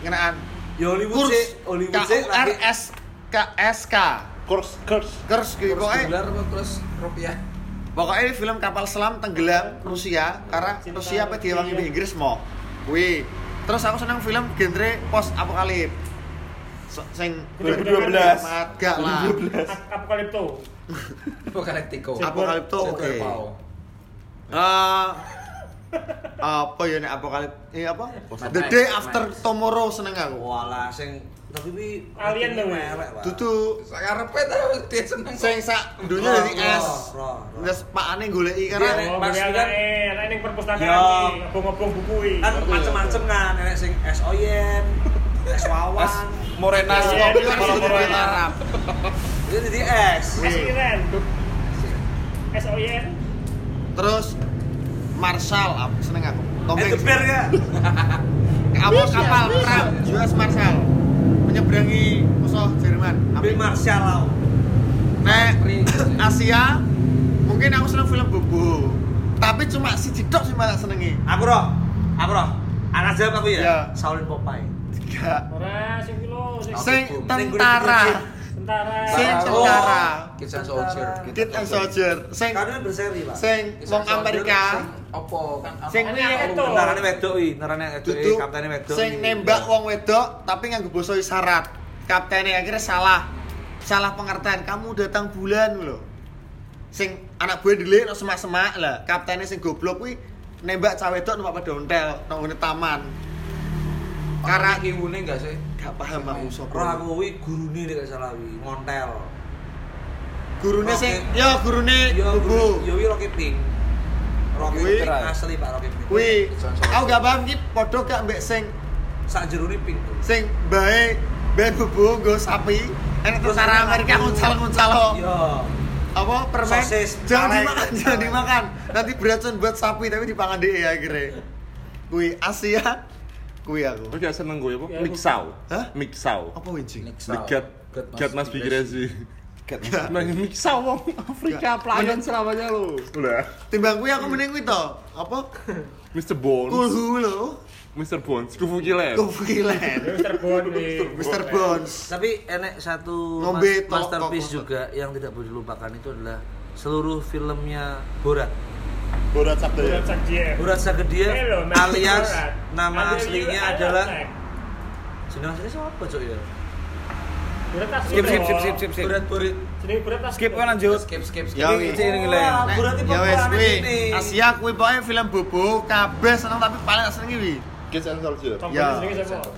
ngenaan. Ya Hollywood Kurs sih, Hollywood sih lagi KURS SKSK. Kurs, kurs. Kers gitu Terus pokoknya. dolar apa terus *laughs* rupiah? Pokoknya ini film kapal selam tenggelam Rusia karena Cinta Rusia apa Rusia. diwangi di Inggris mau. Wih. Terus aku seneng film genre post apokalip. So, sing 2012. Mat, Gak lah. Apokalipto. Apokaliptiko. Apokalipto, oke. Wow. Eh, apa ya nih apokalip? Ini apa? Mad The Max, day Mad after Max. tomorrow seneng aku. Walah Ah, sing tapi wi Alien dong, ya? elek, Pak. Tutu Sakarepe tau dia seneng. sing sak dunia Roh, dari es. roh, roh. Terus pakane goleki karena Dia- Oh, Maksudnya- maksudnya enak ning kan Ya. perpustakaan iki, ngobong-ngobong buku iki. kan macem-macem kan enek sing es *laughs* oyen Mas es wawan Morena Iya, kopi iya, kan iya, sudah iya. dilarang. itu jadi es Es Iren. SOYN. Terus Marshall apa seneng aku. Tom es Hanks. geber ya Apa kapal perang US Marshall menyeberangi musuh Jerman. ambil Martial Law Nek Asia mungkin aku seneng film Bobo. Tapi cuma si Cidok sih malah senengi. aku roh aku roh anak jawab aku Ya. ya Shaolin Popeye Tiga. Ora sing iki lho, sing Sing Boom. Sing tentara. tentara. Sing tentara. Kids and Soldier. Kid and Soldier. Sing karena berseri pak sing Kids and wong Soldier, Amerika. sing Opo kan ana- Sing Ini aku tuh. Narane wedok i, narane wedok i, Duduk Eh, kaptennya wedok. i. sing nembak wong wedok tapi nganggo basa isyarat. Kaptennya akhirnya salah. Salah pengertian. Kamu datang bulan lho. Sing anak gue dile no semak-semak lah. Kaptennya sing goblok kuwi nembak cah wedok numpak pada ontel nang ngene taman. Karena Karena kiwune enggak sih? gak paham aku sapa. Roh aku kuwi gurune nek gak salah kuwi, ngontel. Gurune sing ya gurune Yo Bobo. yo kuwi Rocket Pink. Rocket Kuwi- Pink asli Pak Rocket Pink. Kuwi aku gak paham ki padha gak mbek sing Sak jerone pink tuh. sing bae bae Bobo nggo sapi. Enak Terus tentara enak Amerika aku. nguncal-nguncalo. Yo. apa permen Sosis, jangan kaleng. dimakan jangan dimakan nanti beracun buat sapi tapi dipangan deh ya akhirnya kui Asia kui Aku aku gak seneng gue apa? Ya, aku- Mixau. Hah? Oh, Mixau. apa winjing Dekat dekat Mas Bigresi. Nah, mixau wong Afrika pelayan selamanya lo. Udah. timbang kui aku mending kui to apa Mr. Bones. kulhu lo Mr. Bones. Kufu Kilen. kufilen Mr. Bond iki. Mr. Bones Tapi enek satu Ngombe mas- tolok masterpiece kok. juga yang tidak boleh dilupakan itu adalah seluruh filmnya Borat. Borat Sabda Bulan Sakjie. Borat Sagedia Ini lho, Mas ya. alias Borat. nama Ada aslinya Yuri adalah Alontek. jeneng aslinya siapa cok ya? Burat tas Skip, skip, gitu. skip, skip, skip, skip. Borat Borat. Jadi burat tas Skip gitu. kan lanjut. Skip skip skip. Iya, ya Ini wih ini ini lah. Wah, Nek, Borat itu ya wes pemerannya kui gini. Asia kui pokoknya film bobo kabeh seneng tapi paling gak seneng kui Kids and Soldier. Tom Ya. Cruise jenenge siapa?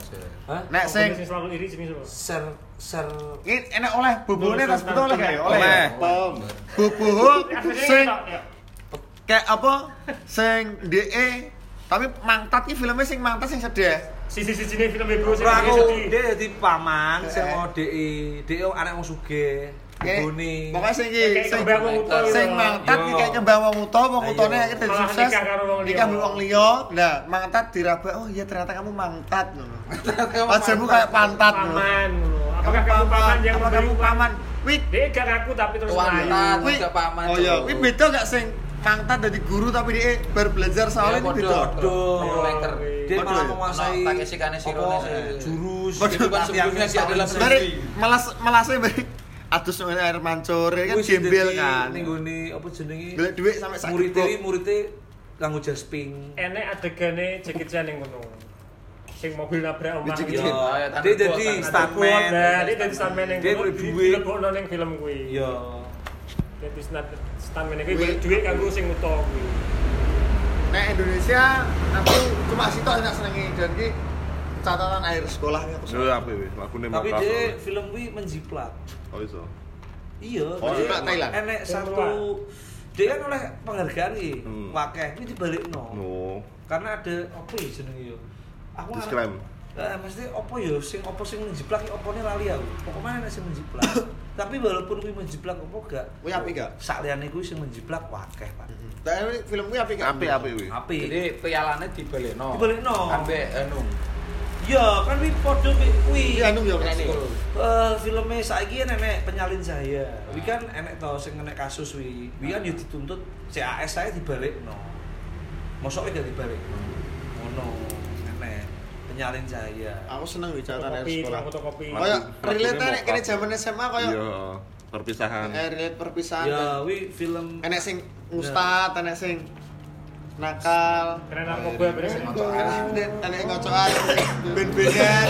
Hah? nek Tom sing Cruise yang selalu iri jenenge siapa? Ser ser ini enak oleh bobo ini tak sebut oleh kayak oleh Oleh. Pam. bobo Aslinya sing kita, ya. kayak apa sing DE tapi mangtat ki filmnya sing mangtat sing sedih Sisi-sisi ini film ibu sing Aku sedih. dia jadi paman, Eh. saya mau DE, DE anak wong sugih, Kayak- boni. pokoknya sing ki Kayak sing kembang wong utuh gitu. sing mangtat ki Yo. kayak nyembah wong uta wong Ayo. utane akhirnya dadi Malah sukses nikah karo wong liya. nikah mbek wong liya nah mangtat diraba oh iya ternyata kamu mangtat ngono wajahmu Mantap. kayak pantat ngono Paman. lho. Apakah kamu paman yang apa kamu memberi- paman wih Dia gak ngaku tapi terus Tuan melayu. Tan, wih udah paman. oh iya wih beda gak sing mangtat dari guru tapi dia baru belajar Iya, soalnya ini beda Dia Waduh, malah ya. menguasai Nah, pakai sikane siro apa, eh, nih, sih. jurus. Waduh, kehidupan sebelumnya tiangnya sih adalah tahun Mari seribu. malas malasnya mari adus nang air mancur ya kan Wis gembel jadi kan. ning gone apa jenenge? Golek duit sampe sak Murid gebok. e murid e kanggo jasping. Enek adegane Jackie Chan yang ngono. Sing mobil nabrak omah. Jackie gitu. Chan. ayo, Dia tangan jadi kuat, tangan stuntman. Nah, dia dari stuntman yang Dia kuwi golek di- duit. dilebokno ning film kuwi. Iya. Jadi stunt- stuntman yang kuwi Kuwi. golek duit kanggo sing utuh kuwi. Nek Indonesia aku cuma situ yang tak senengi dan ki catatan air sekolahnya aku Yo apa wis lakune Tapi Makassar. dia film kuwi menjiplak. Oh iso. Iya, Oh, dia jiplak Thailand. Enek satu dia kan oleh penghargaan iki, Hmm. wakeh iki dibalikno. No. Karena ada apa ya jenenge yo? Aku ngarep- Disclaim. Eh, mesti apa ya sing apa sing menjiplak iki opone lali aku. Pokoknya enek sing menjiplak. Tapi walaupun kuwi menjiplak apa gak, Kuwi apik gak? sak liyane kuwi sing menjiplak wakeh, Pak. Tapi film kuwi apik Api api wis. Apik. Jadi pialane dibalekno. Dibalekno. Ambek anu. Ya, kan kuwi padha kuwi- kuwi. Iya anu ya kene. ekskul. Eh, filmnya saiki kan enek penyalin saya. Wi kan enek to sing enek kasus wi. Wi kan yo dituntut CAS saya dibalikno. Mosok gak dibalikno. Ngono, enek. nyalin saya aku seneng bicara dari Fotokopi, sekolah tukang fotokopi. Oh, iya. kayak Maksud- relate maksudnya nek mau kene apa? zaman SMA kayak Iya, perpisahan. eh relate perpisahan ya kan. wi film enek sing ngustad enek sing nakal Keren narkoba bener. Iya. Iya, enek enek ngocokan ben-benan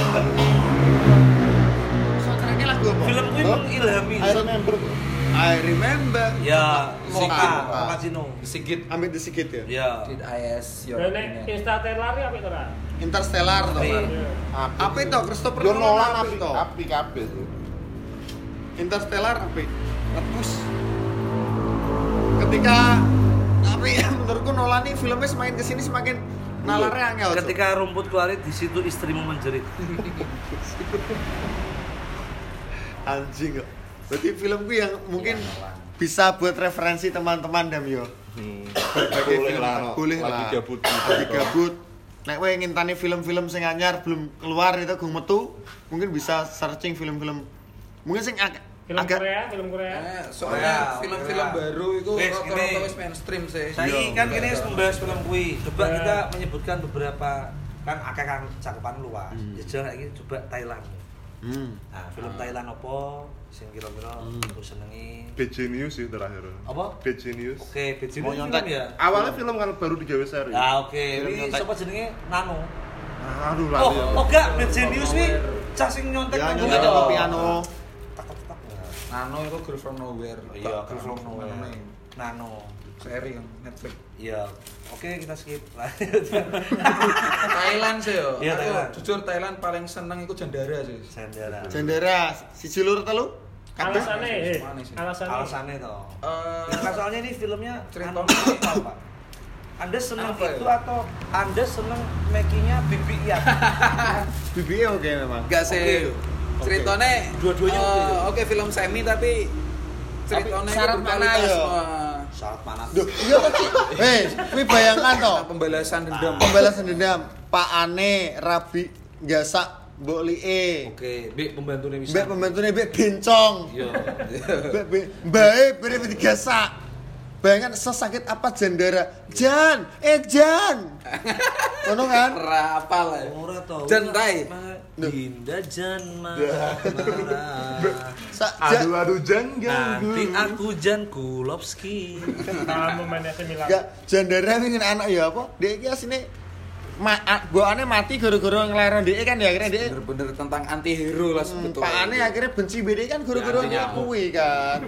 soundtracknya lagu apa? film gue Hah? mengilhami I remember I remember ya Lokal. sikit Lokal. kasino Sigit ambil the sikit ya ya did I ask your Dan nek opinion? Instagram lari apa itu Ra? Interstellar tuh Iya. apa itu Christopher Yo Nolan Nolan apa api itu api kabeh tuh. Interstellar apa lepus ketika tapi *laughs* menurutku Nolan nih filmnya semakin kesini semakin nalarnya angel Cok. ketika rumput kualit di situ istrimu menjerit anjing kok berarti filmku yang mungkin Iya, bisa buat referensi teman-teman dam yo Berbagai Hmm. Boleh film, lah, no. boleh Lagi lah. gabut. gitu. lagi gabut nek kowe ngintani film-film sing anyar belum keluar itu gung metu mungkin bisa searching film-film mungkin sing ag- Film agak Korea, film Korea. Eh, soalnya Korea, film-film Korea. baru itu Wis, rata-rata ini. wis mainstream sih saya kan ini harus membahas film kui coba Ya. kita menyebutkan beberapa kan akeh kan cakupan luas jejak lagi coba Thailand hmm. nah film Thailand apa sing kira-kira aku senengi Bad Genius sih terakhir. Apa? Bad Genius. oke Beijing Mau ini nyontek? film ya Awalnya film kan baru digawe seri. Ya oke, Film ini nyontek. iya. sapa jenenge Nano. Ah, Aduh Oh, lali. oh enggak, Mad Genius wi cah sing nyontek ya nang Iya, nyoba kono. apa piano Tekek-tekek. Nano itu Girl From Nowhere Iya, Bak- Girl From Nowhere. namanya. Nano. seri yang Netflix Iya. Oke, kita skip. *laughs* Lanjut. Thailand sih yo Iya, Aku Thailand. jujur Thailand paling seneng itu Jandara sih Sendera. jendera siji lur telu kabeh Alasannya, eh, alasannya. Alasannya toh. Eh, Nah, soalnya ini filmnya Cerita anu- apa? apa, Pak? Anda seneng Apa ya? itu atau Anda seneng making-nya bibi *laughs* ya? BBE oke memang Enggak sih. Ceritanya Dua-duanya eh, oke. oke film semi tapi ceritanya Tapi syarat berkualitas, mana, yo? eh, Syarat mana? Duh, iya kok. Hei, kuwi bayangkan toh. pembalasan dendam. Pembalasan dendam, Pak Ane, Rabi, Gasak, Mbok Lie. Oke, Bi pembantunya bisa. Mbak pembantunya Mbak Bencong. *laughs* Iya. Mbak Be- Mbak beri beri Gasak. Bayangkan sesakit apa jendera. Jan, eh *laughs* Jan. Ngono kan? Rapal ya. Ora toh. Jentai. Dinda Jan Marah. Sa Aduh Jan. aduh janggal. Nanti aku Jan Kulowski. Sama pemain AC Milan. Enggak, jendera ini anak ya apa? Dia ini aslinya Ma, a- bawaannya mati gara-gara ngelaron dia kan ya akhirnya dia Bener-bener tentang anti hero lah sebetulnya. Hmm, Pak Ane akhirnya benci BD kan guru-guru Ya, artinya ngakui kan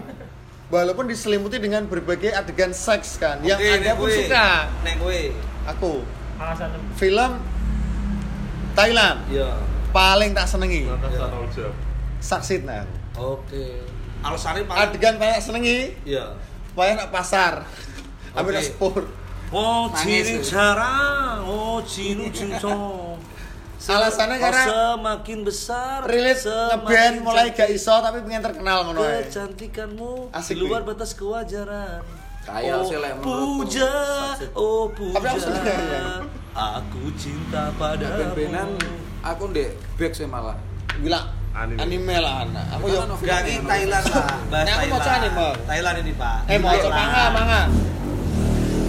walaupun diselimuti dengan berbagai adegan seks kan yang Oke, anda nek pun gue. suka Nek gue. aku Alasannya. film Thailand Iya. paling tak senengi Lantas Nah, tak tahu jawab. saksit nah aku. Oke. Alasannya paling adegan paling tak senengi Iya. paling tak pasar ambil tak sepur Oh, Nangis ciri tuh. jarang. Oh, cinu cincong. Alasannya karena semakin besar relate semakin ngeband mulai cantik gak iso tapi pengen terkenal ngono ae. kecantikanmu di Asik luar nih. batas kewajaran. Kaya oh, sih lah menurutku. puja, Saksit. oh puja, Tapi aku suka, ya. aku cinta Nah, padamu. ben-benan aku ndek back sih malah. gila Anime. anime lah anak aku yo Karena novel Berarti ini, Thailand pak. Bahas Ini aku mau Thailand. cari, Bang. Thailand ini pak. eh mau coba manga manga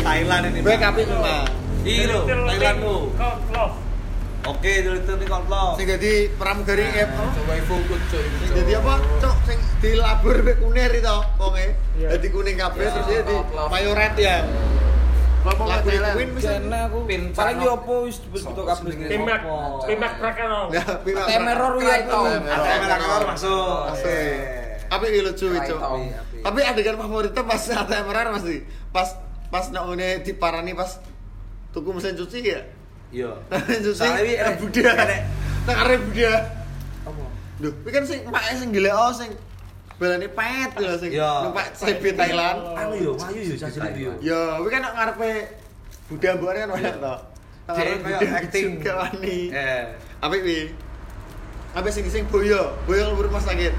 Thailand ini. gue Pak. kapi memang Iya lo, Little Thailandmu. Big Cock Love. Oke, the little nih kalau sing jadi pramugari Nah. eh, apa? Coba ibu ikut coy. Sing dadi apa? Cok sing dilabur be kunir itu wonge. Iya. Dadi kuning kabeh Iya, terus dia di love, love. mayoret ya. Apa Lagu lagu Thailand. Queen bisa? Karena aku Pintar, paling no. yo opo wis begitu kabeh. Pimak, pimak Prakano. Nah, pima- ATM error ya, Kraito, Tom. ATM error. ATM error. masuk. Masuk. Eh. Apa yang lucu itu? Kraito. Tapi adegan favoritnya pas *laughs* ATM error masih pas pas nongone diparani pas tuku mesin cuci ya. *laughs* Iya. Mesin cuci. Soalnya ini, *laughs* Arek eh, Buddha. enek. Nek arek Buddha. Lho, iki kan sing mak sing gelek oh sing balane pet lho sing Iya. numpak CB Thailand. Anu yo, ayo yo, saya jadi yo. Ya, kuwi kan nek ngarepe Buddha mbokne kan banyak to. Nek Iya. ngarepe Jadi kayak Buddha acting. juga wani. Eh, Apik kuwi. Apik sing sing boyo, boyo lebur rumah sakit.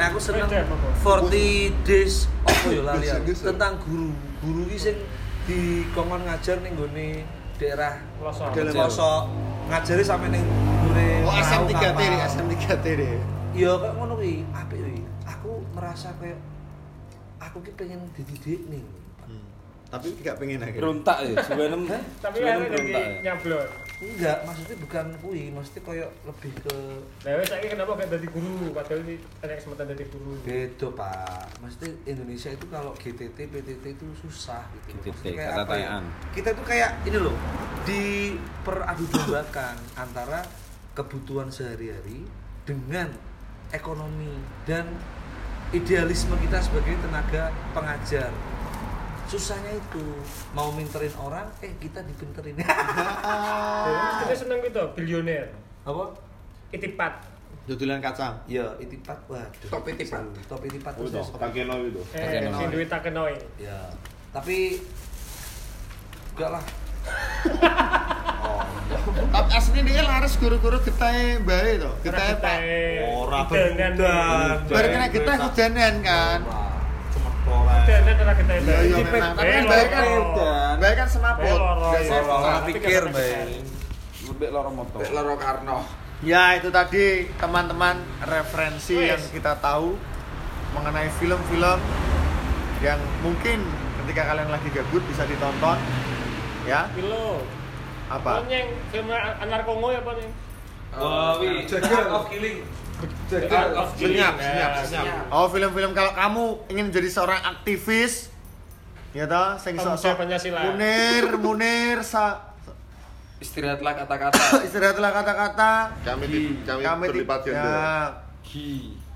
nah aku seneng Beda, Bapak. 40 days apa yo lali Bahasa aku. Inggris, ya? tentang guru. Guru iki sing dikongkon ngajar ning nggone daerah Losor. Dalam- Kosok ngajari sampe ning gure. Oh, SM3T perahu deh, kapal. SM3T deh. Iya kayak ngono kuwi, apik kuwi. Aku merasa kayak aku ki pengen dididik nih. tapi gak pengen akhirnya Runtak ya, sebenarnya kan? Tapi Sebenarnya akhirnya jadi berontak ya. nyablon. enggak maksudnya bukan kui maksudnya koyok lebih ke Nah, wes saiki kenapa gak dadi guru? Padahal ini ada kesempatan dadi guru. beda pak maksudnya Indonesia itu kalau GTT PTT itu susah gitu loh. GTT, Maksudnya kayak apa ya? ketatayaan. kita itu kayak ini loh diperadu dombakan antara kebutuhan sehari-hari dengan ekonomi dan idealisme kita sebagai tenaga pengajar susahnya itu mau minterin orang eh kita dipinterin *laughs* Ah. Jadi kita seneng gitu, bilioner. apa Itipat. dodolan kacang ya itipat waduh Top itipat. top itipat Oh, khusus. itu Takeno itu. Eh, Takenoi. sing duit takenoi. Ya, tapi enggak lah. tapi aslinya dia laris guru-guru getai bae to getai pak Ora Ora kan dengan berundang. baru kena getai hujanan kan Dengan kan ora kita Iya, iya, memang. Tapi kan baik kan bae kan semaput Loro, Gak safe, loro. safe. pikir, Lebih lorong motor. Kayak Loro Karno. Ya itu tadi teman-teman referensi Wes. yang kita tahu mengenai film-film yang mungkin ketika kalian lagi gabut bisa ditonton ya Kilo. Apa? apa yang film anar kongo ya apa nih? Wawi, of killing. Art of Killing. Senyap, Nah, senyap, oh film-film kalau kamu ingin jadi seorang aktivis ya toh sing Pemuda sok Pancasila. *laughs* munir munir sa Istirahatlah kata-kata. istirahatlah kata-kata Kami Di- ti- kami ti- berlipat ganda. ya.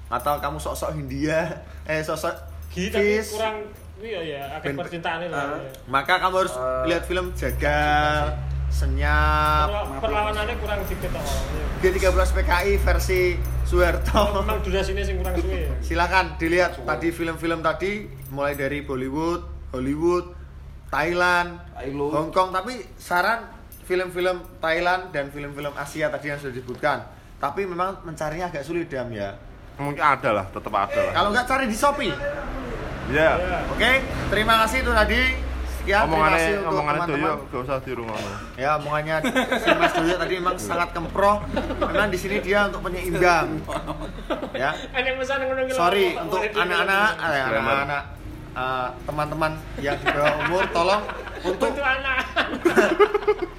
atau kamu sok-sok Hindia eh sok-sok Gi tapi fis. kurang iya ya, akhir Ben- percintaan lah. ya. Maka kamu harus Eh, lihat film Jagal, Senyap, Perla- Perlawanannya kurang dikit toh. G13 PKI versi Soeharto. Memang durasinya sing kurang suwe. ya. Silakan dilihat tadi film-film tadi mulai dari Bollywood, Hollywood, Thailand, Hong Kong tapi saran film-film Thailand dan film-film Asia tadi yang sudah disebutkan. Tapi memang mencarinya agak sulit Dam ya. Mungkin ada lah, tetap ada lah. Kalau nggak cari di Shopee. Iya. Ya. Oke, terima kasih itu tadi. Sekian terima Omongannya kasih untuk omongannya doyo teman-teman. gak usah di rumah. Ya, omongannya si Mas Doyo tadi memang sangat kemproh. Memang di sini dia untuk penyeimbang. Ya. Ada yang pesan ngono ki, Sorry lho. untuk Murid anak-anak, lho. eh, anak-anak eh, teman-teman yang di bawah umur tolong untuk Untuk anak.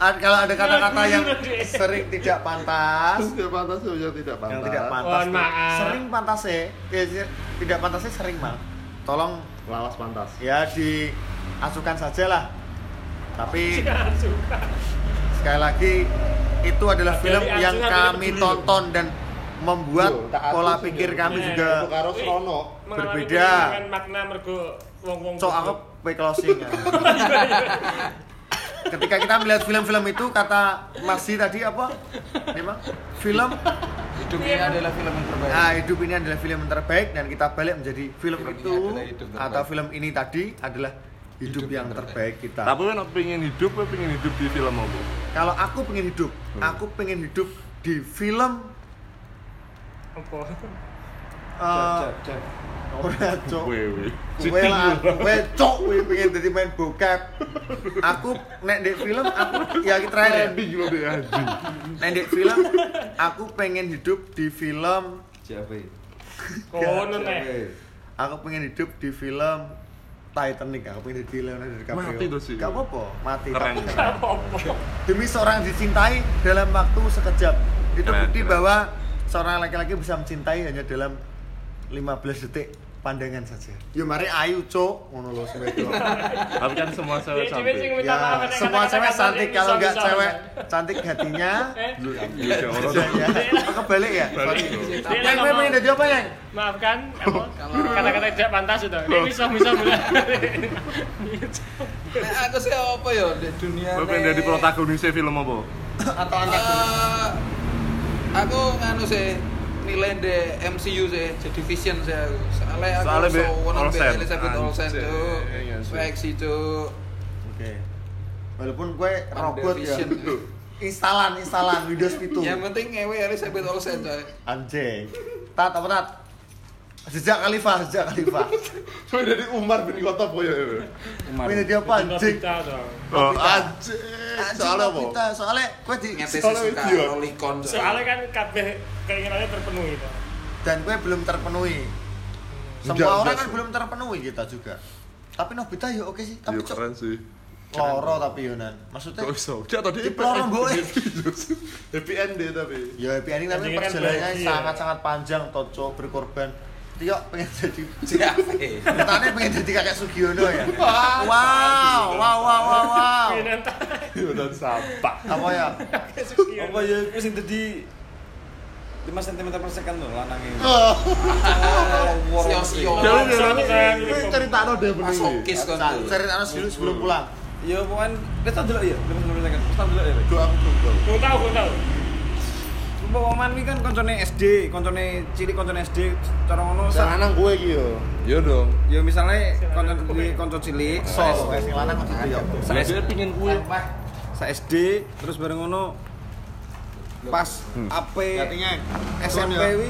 ad- kalau ada kata-kata yang sering tidak pantas, Tidak pantas, ya tidak pantas. yang tidak pantas. Mohon maaf. Sering pantas ya, ya, tidak pantasnya sering mal. Tolong Lawas pantas. ya diasukan sajalah. Tapi Jangan suka. Sekali lagi itu adalah film Dari yang Arjuna kami Budi. tonton dan membuat Yo, tak pola atus pikir ini. kami Eh, juga Karo Wih, Srono. mengalami berbeda. dengan makna mergo wong-wong. so aku back closing ya. Ketika kita melihat film-film itu kata Masih tadi apa? Ini Bang? film Hidup ini adalah film yang terbaik. nah, hidup ini adalah film yang terbaik dan kita balik menjadi film Hidup ini itu adalah hidup terbaik. atau film ini tadi adalah hidup, yang terbaik, kita. Tapi kan pengen hidup, kan pengen hidup di film apa? Kalau aku pengen hidup, aku pengen hidup di film Apa? eh ora cok. Wewe. Kowe lah, kowe cok kowe pengen jadi main bokep. Aku nek di film aku ya kita terakhir. Di ya. gila deh anjing. Nek di film aku pengen hidup di film Siapa ya? Kono nek. aku pengen hidup di film Titanic aku pengen jadi Leonardo DiCaprio. Mati tuh sih. Gak apa-apa, mati. Keren. Tapi Apa? Demi seorang dicintai dalam waktu sekejap. Itu Keren, bukti keren. bahwa seorang laki-laki bisa mencintai hanya dalam 15 detik pandangan saja. Yo mari ayu cok ngono lho sing wedok. Tapi kan semua cewek Dia Iya, cewek sing cantik. minta maaf ya, nek semua kata-kata cewek kasar cantik ini kalau bisa- nggak bisa. cewek cantik *laughs* hatinya Eh, Lu iya, kayak orang ya, ya. Aku kebalik ya Balik. Dia yang gue ngomong, pengen jadi apa yang Maafkan, apa? *laughs* kata-kata tidak pantas sudah. Dia Oh. bisa bisa bilang. Nek aku sih apa ya di dunia Lu nek- pengen jadi protagonisnya film apa? atau anak Eh, aku nganu sih nilai di MCU sih jadi vision sih aku soalnya aku Soalnya so be- wanna be Olsen. Elizabeth Olsen Anjing, tuh iya sih. seksi tuh oke walaupun gue Pandai robot ya vision. Iya, instalan instalan Windows itu yang penting ngewe Elizabeth Olsen coy anjing tat apa tat sejak khalifah sejak khalifah Cuma dari Umar bin Khattab ya. pengen jadi apa anjing Cinta, dong. Oh, kan- anjing. Anjing, Soalnya apa? kita soalnya gue di ngetes Soalnya suka iya. rolikon coy Ya, Soalnya *laughs* kan kabeh keinginannya terpenuhi. Pak. dan gue belum terpenuhi semua Enggak, orang enggak kan sih. belum terpenuhi kita juga Tapi Nobita ya oke sih, tapi Iya cok keren sih. loro tapi Yunan. Maksudnya Kok bisa? Udah tadi Di pelorong, boy. gitu. *laughs* Happy end deh tapi. ya happy ending tapi Endingnya kan perjalanannya bahagia. sangat-sangat panjang toh cok berkorban. Tio Iya, pengen jadi Siapa? iya. Katanya pengen jadi kakek Sugiono ya. *laughs* Wow, wow, wow, wow, wow. *laughs* Iya, Udah sampah. Apa ya? iya. Apa ya iku sing dadi 5 cm per second lho lanange. Sio-sio. Jangan jangan. Soalnya Ini kayak- cerita no deh bening. Masokis kan tuh. Cari anak dulu sebelum pulang. Ya pokokan kita delok ya 5 cm per second. Kita delok ya. Pak. Doa aku dong, dong. Gue tahu, gue tahu. Sumpah Oman ini kan koncone SD, koncone cilik koncone SD cara ngono sak- Jalanan gue gitu. Iya Yo dong. ya misalnya koncon di koncon cilik So, sa SD, kayak lanang kok gitu ya. sa SD sa SD terus bareng ngono pas AP SMP wi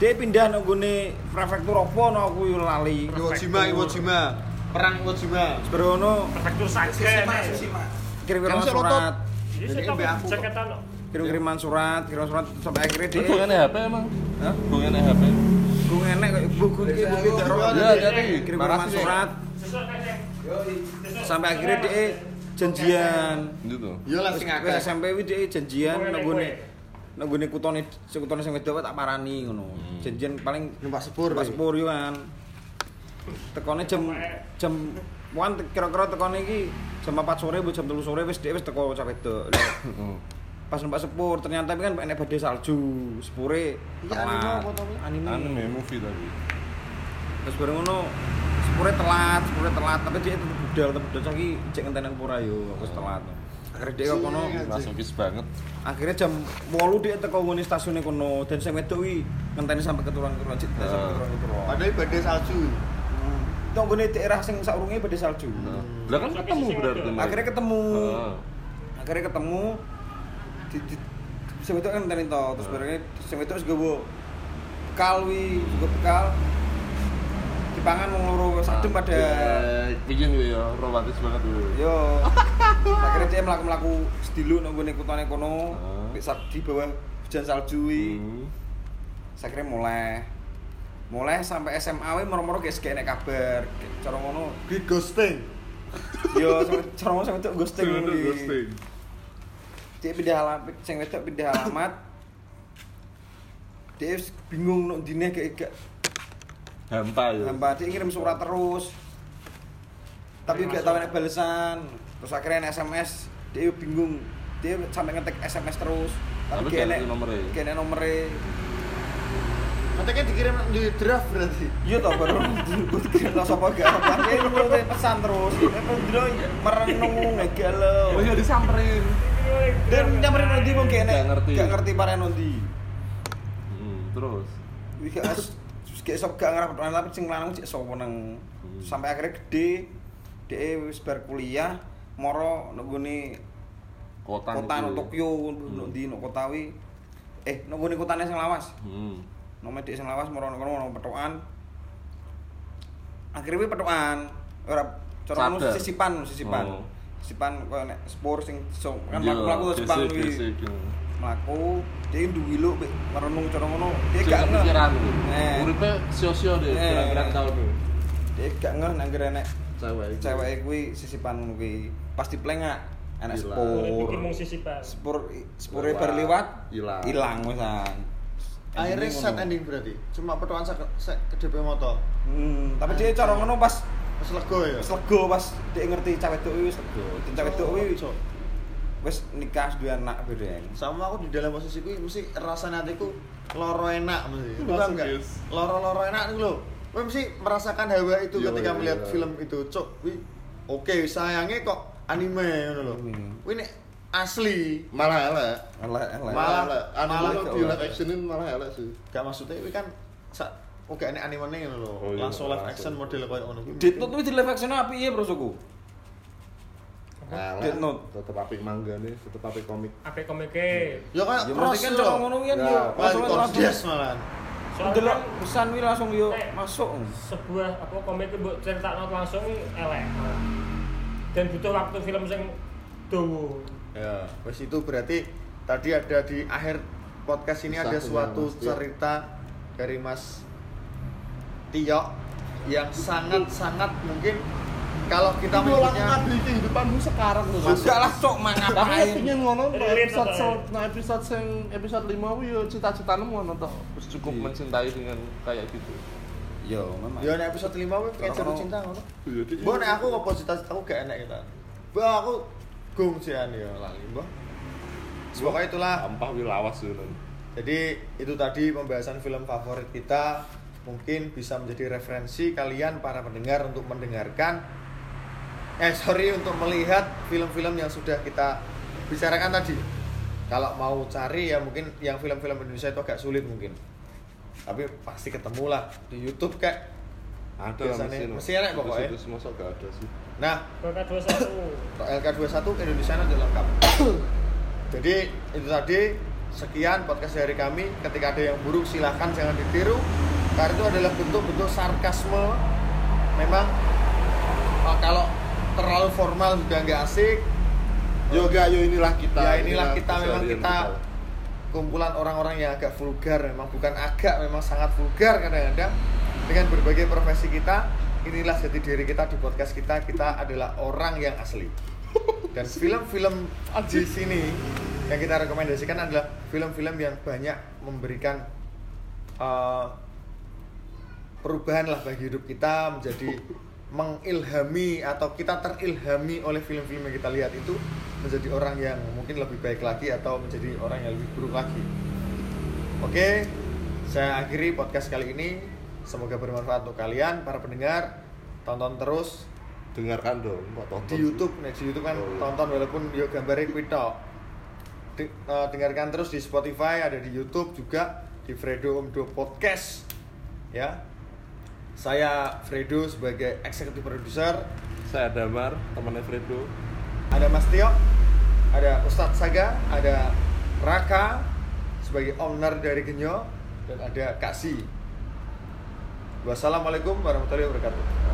dia pindah nunggune prefektur apa no aku yo lali Iwojima, Iwojima. Perang Iwojima. Terus bareng ngono Prefektur Saksen. kan- kirim-kiriman Yang saya surat Jadi saya Jadi tahu MBA aku kok. Jakarta loh. kirim-kiriman surat kirim surat sampai akhirnya dia HP emang? Hah? Hubungannya HP? gue enek kok ibu gue iki ibu iki karo Ya jadi. kirim-kiriman surat sampai akhirnya dia janjian Gitu. Yo lah sing Wis akeh. SMP wis dhek janjian Kowe nek nenggone kowe. nenggone kutone sekutone sing wedok tak parani ngono. Janjian paling Hmm. Numpak sepur. pas weh. sepur yo kan. Tekone jam jam wan te- kira-kira tekone iki jam 4 sore bu jam 3 sore wis dhek wis teko cah wedok. Lah, Hmm. Pas numpak sepur ternyata kan enek badai salju. Sepure Iki anime telat. apa to, Wi? Anime. Anime movie tapi. Terus bareng ngono sepure telat, sepure telat tapi dia tetep budal, tetep budal cah iki cek ngenteni pura yo wis telat. Akhirnya dia kok kono Masokis banget. akhirnya jam 8 dia teko ngene stasiune kono dan sing wedok kuwi ngenteni sampe keturunan-keturunan Eh. cita sampe Ah. keturunan-keturunan. Padahal badai salju. Tok ngene daerah sing saurunge pada salju. Eh. Lah kan ketemu berarti. Mike. Hmm. Akhirnya ketemu. Ah. Akhirnya ketemu di, di, sing wedok kan ngenteni to, terus barenge sing wedok wis gowo bekal wi, juga bekal. Dipangan wong loro sadem pada Eh, Bikin gitu ya, romantis banget dulu. yo. Akhirnya dia melaku-melaku sedilu nang ngene kutane kono, Ah. wis sak- di bawah hujan salju wi. saya kira mulai mulai sampai SMA we moro-moro kayak kayak nek kabar Kayak cara ngono Di ghosting. yo sama- cara ngono sampe itu ghosting Ghosting, di ghosting. dia pindah alamat sing wedok pindah alamat dia wis bingung nuk dine kayak gak Hampa ya. hamba dia ngirim surat terus tapi gak tahu nek balesan terus akhirnya nek SMS dia bingung dia sampai ngetik SMS terus tapi Tapi gak kene ngerti nomere. kene nomere Katanya kan dikirim di draft berarti. Iya toh baru *laughs* kira sapa gak apa ya lu perlu pesan terus. Aku dulu merenung agak lo. Oh iya disamperin. Dan nyamperin nanti mung kene. Gak ngerti. Gak ngerti parane nanti. Hmm, terus. Wis gak wis gak sok gak ngarep tapi sing lanang cek sapa nang Hmm. sampai akhirnya gede dhek wis bar kuliah moro nang nggone Kota Hmm. kota nang itu. Tokyo nang ndi nang kota wi. Eh nang nggone kotane sing lawas. Hmm. nomor dia sing lawas merono kono ono petokan akhirnya gue petokan ora cara ngono Sadar. sisipan sisipan Oh. sisipan koyo nek spor sing so, kan Iya, mlaku-mlaku terus bang gesek, kuwi gesek, gitu. Eh, mlaku dia duwi lu Pi. merenung cara ngono dia Sing gak ngeh kepikiran gitu. Eh. Uripnya sio-sio deh, Eh. kira-kira tahun tuh. dia gak ngeh nang kira nek Cewek. itu. cewek kuwi sisipan kuwi pasti plengak anak Gila. spor Bikin musisi pak. spor spore bar liwat Ilang. ilang wisan Akhirnya Endingnya set ngono. ending berarti. Cuma pertuan sak sak kedhepe moto. Hmm, tapi dia cara ngono pas Wis lego ya. wis lego pas dia ngerti cah wedok kuwi wis lego. Dan cah wedok kuwi Cok. wis nikah duwe anak bareng. sama aku di dalam posisi kuwi mesti rasane atiku loro enak Langsung, mesti. Paham nggak? yes. Loro-loro enak niku lho. Kowe mesti merasakan hawa itu Iya, ketika iya, melihat iya. film itu. Cuk, kuwi oke sayangnya kok anime ngono lho. Hmm. Kuwi nek asli Malah elek. Elek elek. Malah- elek. Anu malah kalau kok di elek. live actionin malah elek sih. gak maksudnya kuwi kan sak oke nek animenya ngono lho. Oh, iya, Langsung live langsung. action model koyo ngono kuwi. Dit Note kuwi di live action apik ya bro suku. Elek. Death Note. Tetep apik mangga nih, tetep apik komik. Apa komiknya? Ya koyo Ya cross mesti kan lho. cara ngono kuwi kan Ya, yo. Malah Langsung langsung. dikordes malahan. Soalnya kan Delok pesan kuwi langsung yo masuk. sebuah apa komik itu buat cerita langsung elek. Dan butuh waktu film sing dowo. Ya, wes itu berarti tadi ada di akhir podcast ini Satu ada suatu Mas Tio. cerita dari Mas Tio yang sangat-sangat mungkin kalau kita Itu orang mengikutnya ngabli kehidupanmu sekarang loh. Mas. Enggak lah sok mang Tapi ngapain. ya pingin ngono tok, Relate episode atau sel- nah episode sing episode 5 kuwi yo cita-citamu ngono tok. Wis cukup mencintai dengan kayak gitu. Yo, memang. ya nek episode 5 kowe kayak jero cinta ngono. Iya, Mbok nek ya. aku opositas aku gak enak kita. Mbok aku gung sian ya lali mbok. Pokoknya itulah Sampah wi lawas ya, yo. Jadi itu tadi pembahasan film favorit kita mungkin bisa menjadi referensi kalian para pendengar untuk mendengarkan eh sorry untuk melihat film-film yang sudah kita bicarakan tadi. Kalau mau cari ya mungkin yang film-film Indonesia itu agak sulit mungkin. Tapi pasti ketemulah di YouTube kayak Ada lah Biasanya- mesin. mesin enak pokoknya. Terus masuk gak ada sih. nah Bakal 21. LK21 Indonesia nanti lengkap. *coughs* Jadi itu tadi sekian podcast dari kami. Ketika ada yang buruk silahkan jangan ditiru. Karena itu adalah bentuk-bentuk sarkasme. Memang eh, kalau terlalu formal juga nggak asik. Yo gak yo inilah kita. ya inilah kita memang keseharian kita kumpulan orang-orang yang agak vulgar memang bukan agak memang sangat vulgar kadang-kadang dengan berbagai profesi kita inilah jati diri kita di podcast kita kita adalah orang yang asli dan film-film di sini yang kita rekomendasikan adalah film-film yang banyak memberikan eh, perubahan lah bagi hidup kita menjadi mengilhami atau kita terilhami oleh film-film yang kita lihat itu menjadi orang yang mungkin lebih baik lagi atau menjadi orang yang lebih buruk lagi. Oke, saya akhiri podcast kali ini. Semoga bermanfaat untuk kalian para pendengar. Tonton terus Dengarkan dong, kok tonton. di YouTube, nah, di YouTube kan Oh, iya. tonton walaupun yo gambarnya kuwi tok. Di- eh, dengarkan terus di Spotify, ada di YouTube juga di Fredo Omdo Podcast. Ya. Saya Fredo sebagai eksekutif produser, Saya Damar, temannya Fredo. ada Mas Tio, ada Ustadz Saga, ada Raka sebagai owner dari Genyo dan ada Kasi. Wassalamualaikum warahmatullahi wabarakatuh.